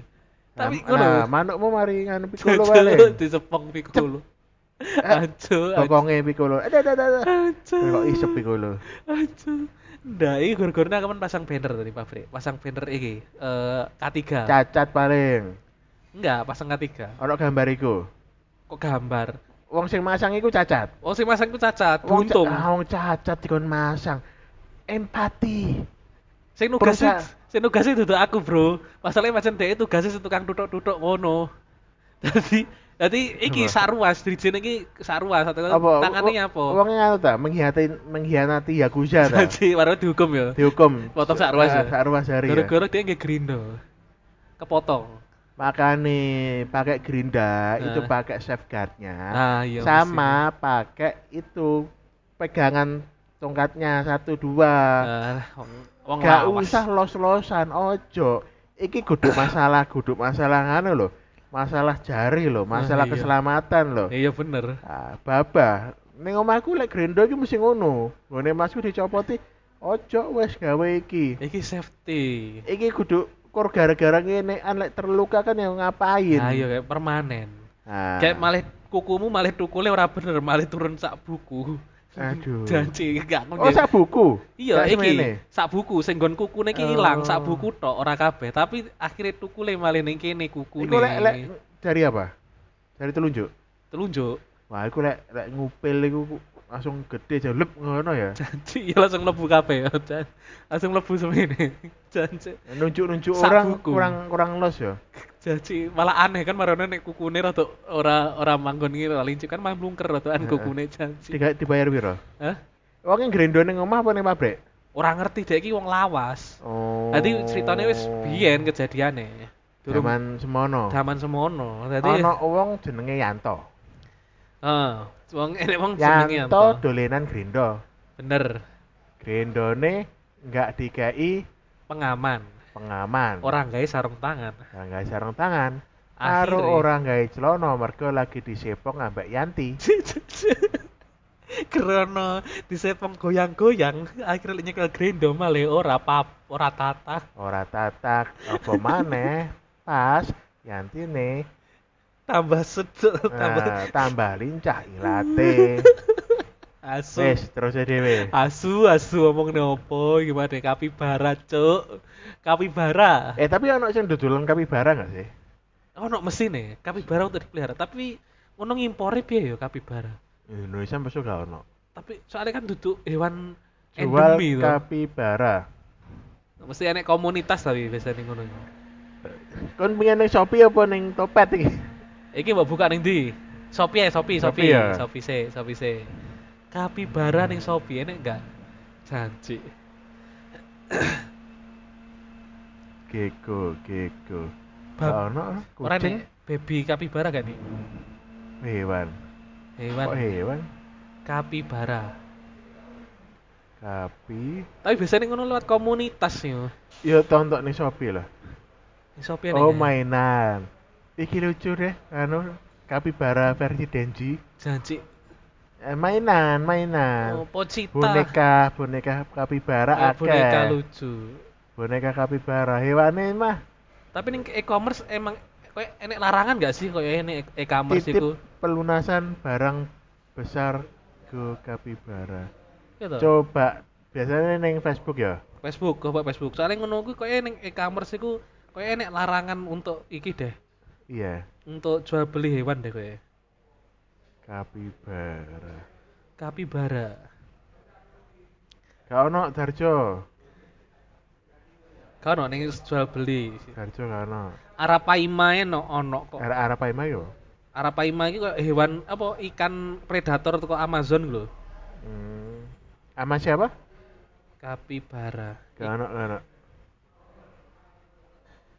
Speaker 1: Tapi
Speaker 2: nah,
Speaker 1: ngono.
Speaker 2: manukmu mari nganu piccolo
Speaker 1: Jajal
Speaker 2: balik.
Speaker 1: disepong piccolo.
Speaker 2: Eh,
Speaker 1: Aduh, aduh.
Speaker 2: Bokongnya piccolo. Eh, Ada ada ada.
Speaker 1: Aduh.
Speaker 2: Kok isep piccolo.
Speaker 1: Aduh. Ndak, iki gur-gurna kapan pasang banner tadi pabrik. Pasang banner iki eh K3.
Speaker 2: Cacat paling.
Speaker 1: Enggak, pasang K3.
Speaker 2: Ono gambar iku.
Speaker 1: Kok gambar?
Speaker 2: Wong sing masang iku cacat.
Speaker 1: Oh, sing masang ku cacat,
Speaker 2: Wong ca-
Speaker 1: buntung.
Speaker 2: ah, Wong cacat dikon masang. Empati.
Speaker 1: Sing nugasi,
Speaker 2: perusahaan.
Speaker 1: sing nugasi duduk aku, Bro. Masalahnya macam dhek tugasnya sing tukang tutuk-tutuk ngono. Dadi dadi iki
Speaker 2: Apa?
Speaker 1: saruas, dirijen iki saruas. Satu
Speaker 2: Apa?
Speaker 1: Tangane nyapa?
Speaker 2: Wong nganu ta, mengkhianati mengkhianati yakuza ta.
Speaker 1: Dadi warung dihukum ya.
Speaker 2: Dihukum.
Speaker 1: Potong sak ruas ya?
Speaker 2: Ah, Sak ruas hari ya.
Speaker 1: Gara-gara dia nggih grindo. Kepotong.
Speaker 2: Makane pakai gerinda, itu
Speaker 1: Ah.
Speaker 2: pakai safeguardnya.
Speaker 1: Ah, iya. mesti.
Speaker 2: Sama pakai itu pegangan tongkatnya satu dua.
Speaker 1: Ah, wong wong
Speaker 2: Gak
Speaker 1: lawas.
Speaker 2: usah los-losan, ojo. Iki guduk masalah, guduk masalah nganu loh. Masalah jari loh, masalah
Speaker 1: iya.
Speaker 2: keselamatan loh.
Speaker 1: Iya bener.
Speaker 2: Ah, babah. Ning omahku lek grendo iki mesti ngono. Gone masku dicopoti, ojo wes gawe iki.
Speaker 1: Iki safety.
Speaker 2: Iki guduk kor gara-gara ngene an lek terluka kan ya ngapain.
Speaker 1: Nah, iya kayak permanen.
Speaker 2: Ah.
Speaker 1: Kayak malih kukumu malih tukule ora bener, malih turun sak buku.
Speaker 2: Aduh.
Speaker 1: Janji gak
Speaker 2: Hmm. Oh, sak buku.
Speaker 1: Iya,
Speaker 2: Sak semene. Oh.
Speaker 1: iki sak buku sing nggon kukune iki ilang, sak buku tok ora kabeh, tapi akhirnya tukule malih ning kene kukune.
Speaker 2: Iku lek lek dari apa? Dari telunjuk.
Speaker 1: telunjuk.
Speaker 2: Wah, iku lek lek ngupil iku langsung gede jelep ngono ya.
Speaker 1: Janji ya langsung lebu kabeh. Jan- Langsung lebu semene. Janji.
Speaker 2: Nunjuk-nunjuk
Speaker 1: Sak
Speaker 2: orang
Speaker 1: buku.
Speaker 2: kurang kurang los ya.
Speaker 1: Jadi malah aneh kan marone nek kukune rada ora ora manggon ngene ora lincip kan malah mlungker radaan
Speaker 2: Heeh.
Speaker 1: kukune janji.
Speaker 2: Tiga dibayar piro?
Speaker 1: Hah?
Speaker 2: Wong yang grendo ning omah apa ning pabrik?
Speaker 1: Ora ngerti dek iki wong lawas.
Speaker 2: Oh.
Speaker 1: Dadi ceritane wis biyen kejadiane. Durung
Speaker 2: Zaman semono.
Speaker 1: zaman semono. Dadi
Speaker 2: Ono wong jenenge Yanto.
Speaker 1: heeh, wong enek wong jenenge
Speaker 2: Yanto
Speaker 1: apa?
Speaker 2: dolenan grendo.
Speaker 1: Bener.
Speaker 2: Grendone nggak dikai
Speaker 1: Pengaman.
Speaker 2: pengaman.
Speaker 1: Orang gawe sarung tangan.
Speaker 2: Orang nggak sarung tangan.
Speaker 1: Akhire.
Speaker 2: Karo orang nggak celono mergo lagi disepong ngambek Yanti.
Speaker 1: Krono disepong goyang-goyang akhirnya nyekel grendo malah ora pap ora tatah.
Speaker 2: Ora tatak apa maneh pas Yanti nih
Speaker 1: Tambah sedot, tambah
Speaker 2: nah, tambah lincah ilate.
Speaker 1: asu.
Speaker 2: Wis terus dhewe.
Speaker 1: Asu, asu omong nopo, gimana kapibara cuk kapibara
Speaker 2: Eh tapi ono sing dodolan kapibara nggak sih?
Speaker 1: oh no mesin nih, kapibara untuk dipelihara tapi ngono ngimpornya piye ya kapibara
Speaker 2: Indonesia mesti gak ono.
Speaker 1: tapi soalnya kan duduk hewan
Speaker 2: Jual
Speaker 1: endemi tuh
Speaker 2: kapibara.
Speaker 1: mesti enek komunitas tapi biasanya ngono
Speaker 2: Kon pengen ning Shopee apa ning Topet iki?
Speaker 1: iki mbak buka ning di Shopee ya, Shopee, Shopee,
Speaker 2: Shopee ya?
Speaker 1: Shopee se, Shopee se. Kapibara ning Shopee enek enggak? Janji.
Speaker 2: Gego, gego. Gak
Speaker 1: Bab-
Speaker 2: ono
Speaker 1: Ora
Speaker 2: kucing
Speaker 1: nih baby kapibara gak nih?
Speaker 2: hewan.
Speaker 1: Hewan
Speaker 2: Kok hewan?
Speaker 1: kapibara.
Speaker 2: Tapi
Speaker 1: Tapi biasanya ngono lewat komunitas yo.
Speaker 2: ya tonton nih Shopee lah.
Speaker 1: Shopee
Speaker 2: oh
Speaker 1: nih, ya.
Speaker 2: mainan. Iki lucu deh, anu kapibara versi Denji.
Speaker 1: Janji.
Speaker 2: Eh,
Speaker 1: Oh,
Speaker 2: mainan, mainan.
Speaker 1: pocita.
Speaker 2: boneka, boneka kapibara
Speaker 1: Oh,
Speaker 2: akeh.
Speaker 1: boneka lucu.
Speaker 2: Boneka kapibara hewane mah
Speaker 1: Tapi ning e-commerce emang kayak enek larangan gak sih kayak enek e-commerce
Speaker 2: titip
Speaker 1: itu?
Speaker 2: pelunasan barang besar go kapibara.
Speaker 1: Gitu.
Speaker 2: Coba biasanya neng Facebook ya.
Speaker 1: Facebook, coba Facebook. Soalnya ngono kuwi kayak ning e-commerce iku kayak enek larangan untuk iki deh,
Speaker 2: Iya,
Speaker 1: untuk jual beli hewan deh kayak.
Speaker 2: kapibara.
Speaker 1: Kapibara.
Speaker 2: Gak ono Darjo.
Speaker 1: Kau no ning jual beli.
Speaker 2: Darjo gak ono.
Speaker 1: Arapaima no ono kok.
Speaker 2: Era arah Paima yo.
Speaker 1: Arapaima iki kayak hewan apa ikan predator toko Amazon lho.
Speaker 2: Hmm. Sama siapa?
Speaker 1: Kapibara.
Speaker 2: Gak ono, gak ono.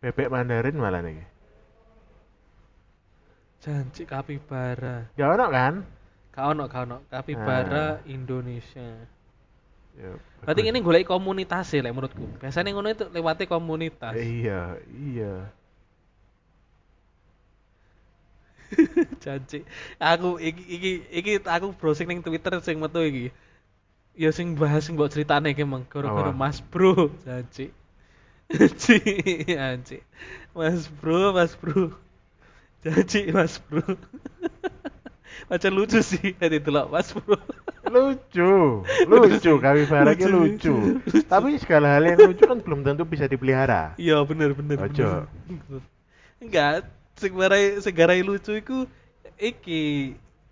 Speaker 2: Bebek Mandarin malah nih.
Speaker 1: Janji kapibara.
Speaker 2: Gak ono kan?
Speaker 1: Kau no, kau no.
Speaker 2: Ah.
Speaker 1: Kapibara Indonesia.
Speaker 2: Ya,
Speaker 1: Berarti
Speaker 2: bagus.
Speaker 1: ini golek komunitas sih, lek menurutku. Biasanya ngono itu lewati komunitas.
Speaker 2: Iya, iya.
Speaker 1: Janji. Aku iki iki iki aku browsing ning Twitter sing metu iki. Ya sing bahas sing mbok critane iki mang gara-gara
Speaker 2: Apa?
Speaker 1: Mas Bro, janji. Janji, janji. Mas Bro, Mas Bro. Janji Mas Bro. Macam lucu sih tadi delok Mas Bro.
Speaker 2: Lucu, lucu. Kami barang
Speaker 1: Lucu,
Speaker 2: ini
Speaker 1: lucu.
Speaker 2: lucu. Tapi segala hal yang lucu kan belum tentu bisa dipelihara.
Speaker 1: Iya bener bener.
Speaker 2: Ojo.
Speaker 1: bener. Enggak, sing marai sing garai lucu iku iki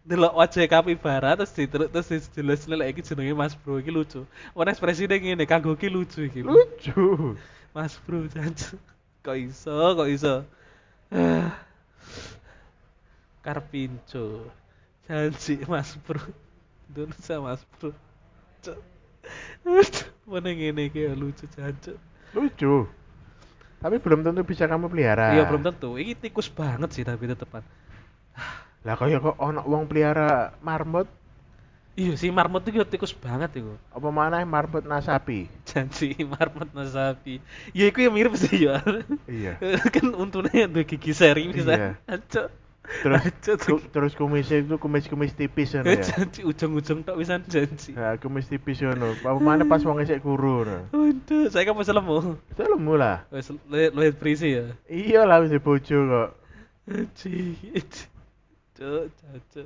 Speaker 1: delok wajah kapibara terus diteluk terus dijelas lek iki jenenge Mas Bro iki lucu. Ono ekspresine ngene, kanggo ki lucu iki.
Speaker 2: Lucu.
Speaker 1: Mas Bro jancu. Kok iso, kok iso. Ah. Karpinco. Janji Mas Bro. Indonesia Mas Bro. Cuk. Aduh, Mana ngene iki ya lucu jancuk.
Speaker 2: Lucu. Tapi belum tentu bisa kamu pelihara.
Speaker 1: Iya belum tentu. Ini tikus banget sih tapi tetepan.
Speaker 2: Lah kaya kok ono wong pelihara marmut,
Speaker 1: Iya si marmut itu ya tikus banget itu.
Speaker 2: apa mana marmut nasapi?
Speaker 1: Janji marmut nasapi. Ya itu ya mirip sih ya.
Speaker 2: Iya.
Speaker 1: kan untungnya ada gigi seri
Speaker 2: Iya.
Speaker 1: bisa. Aco.
Speaker 2: Terus
Speaker 1: Aco tuh.
Speaker 2: ku- terus kumisnya itu kumis-kumis tipis ngono ya.
Speaker 1: Janji ujung-ujung tak bisa janji.
Speaker 2: Nah, kumis tipis ngono. Apa mana pas wong isik kuru. ngono.
Speaker 1: Waduh, saya kan pasal lemu.
Speaker 2: Itu lemu lah.
Speaker 1: Wes lihat lihat berisi ya.
Speaker 2: Iya lah wis bojo kok.
Speaker 1: Aji. Cuk, cuk.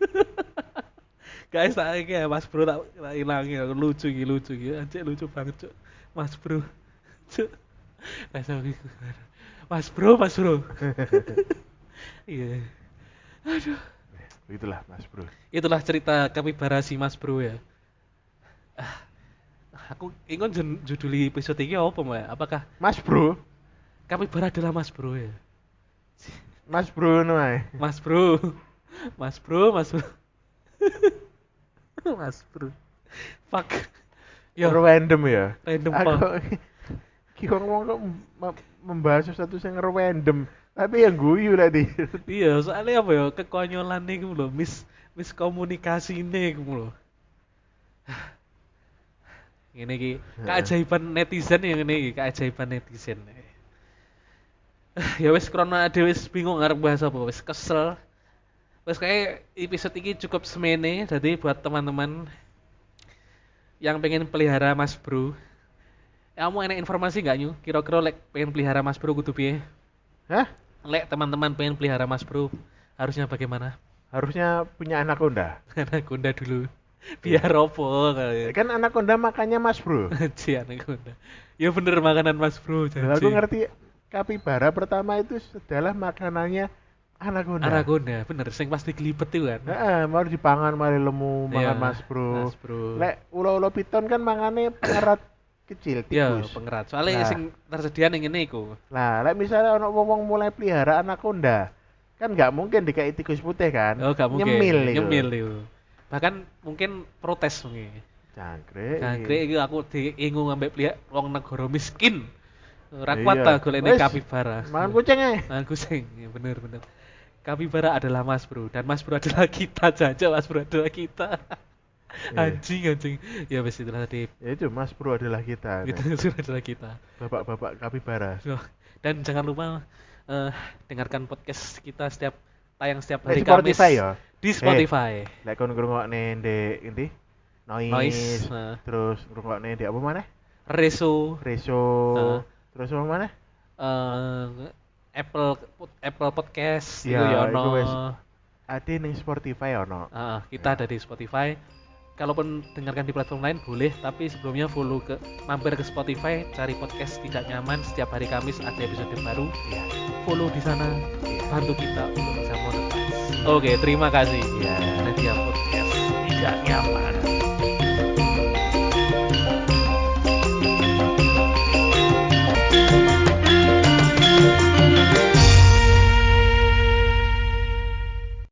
Speaker 1: Guys, tak iki ya, Mas Bro tak tak ilangi aku lucu iki lucu iki. Anjir lucu banget, Cuk. Mas Bro. Cuk. Mas aku iku. Mas Bro, Mas Bro. Iya. Aduh.
Speaker 2: Begitulah Mas Bro.
Speaker 1: Itulah cerita kapibara si Mas Bro ya. Ah, Aku ingin jen- juduli episode ini apa, Mbak? Apakah
Speaker 2: Mas Bro,
Speaker 1: kapibara adalah Mas Bro ya?
Speaker 2: Mas Bro ngono ae.
Speaker 1: Mas Bro. Mas Bro, Mas Bro. Mas Bro. Fuck. Yo,
Speaker 2: random ya.
Speaker 1: iya. Random,
Speaker 2: Aku ki wong kok mem- membahas sesuatu yang random, tapi yang guyu lah di.
Speaker 1: iya soalnya apa ya kekonyolan nih lho, mis gitu miskomunikasi nih lho. Ini ki keajaiban netizen yang ini ki keajaiban netizen. ya wis krona dhewe wis bingung arep bahas apa wis kesel. Wis kayak episode ini cukup semene jadi buat teman-teman yang pengen pelihara Mas Bro. Kamu enak informasi nggak nyu? Kira-kira lek pengen pelihara Mas Bro kudu piye?
Speaker 2: Hah?
Speaker 1: Lek teman-teman pengen pelihara Mas Bro, harusnya bagaimana?
Speaker 2: Harusnya punya anak onda.
Speaker 1: Anaconda dulu.
Speaker 2: Iya.
Speaker 1: Biar opo kali. ya.
Speaker 2: Kan anak onda makanya Mas Bro.
Speaker 1: Anji anaconda. Ya bener makanan Mas Bro, janji.
Speaker 2: Dan aku ngerti kapibara pertama itu adalah makanannya anaconda.
Speaker 1: Anaconda, bener sing pasti kelipet itu kan.
Speaker 2: Heeh, mau dipangan mari lemu,
Speaker 1: Iya,
Speaker 2: mangan Mas Bro.
Speaker 1: Mas Bro.
Speaker 2: Lek ulo-ulo piton kan mangane pengerat kecil
Speaker 1: Ya,
Speaker 2: tikus.
Speaker 1: pengerat. Soalnya
Speaker 2: Nah.
Speaker 1: sing tersedia ning ngene iku.
Speaker 2: Nah, lek misalnya ono wong mulai pelihara anaconda, kan nggak mungkin dikai tikus putih kan?
Speaker 1: Oh, gak mungkin.
Speaker 2: Nyemil itu.
Speaker 1: Nyemil itu. Bahkan mungkin protes mungkin.
Speaker 2: Jangkrik.
Speaker 1: Jangkrik iki aku diingu ngambek pelihara wong negara miskin. Ora
Speaker 2: Iya.
Speaker 1: kuat ta golekne
Speaker 2: Wes,
Speaker 1: kapibara.
Speaker 2: Mangan kucing ae.
Speaker 1: Mangan kucing, ya bener bener. Kapibara adalah Mas Bro dan Mas Bro adalah kita jaja Mas Bro adalah kita.
Speaker 2: Iya.
Speaker 1: anjing anjing ya wes itulah tadi
Speaker 2: Ya itu Mas Bro adalah kita.
Speaker 1: itu
Speaker 2: nih.
Speaker 1: sudah adalah kita
Speaker 2: Bapak-bapak kapibara.
Speaker 1: So, dan jangan lupa eh, dengarkan podcast kita setiap tayang setiap hari
Speaker 2: Di
Speaker 1: Kamis
Speaker 2: Spotify ya.
Speaker 1: di Spotify
Speaker 2: Lek kon ngrungokne ndek inti noise,
Speaker 1: Noise, nah.
Speaker 2: terus ngrungokne ndek apa maneh?
Speaker 1: Reso
Speaker 2: Reso.
Speaker 1: Nah.
Speaker 2: Terus apa maneh?
Speaker 1: eh, Apple Apple Podcast itu
Speaker 2: Ya,
Speaker 1: ya
Speaker 2: itu
Speaker 1: ono.
Speaker 2: wes. Ade ning Spotify ono.
Speaker 1: Ah, kita ada di Spotify. Kalaupun dengarkan di platform lain boleh, tapi sebelumnya follow ke mampir ke Spotify, cari podcast tidak nyaman setiap hari Kamis ada episode baru.
Speaker 2: Iya.
Speaker 1: Follow di sana, bantu kita untuk bisa monetize. Oke, terima kasih.
Speaker 2: Iya.
Speaker 1: Nadia Podcast tidak nyaman.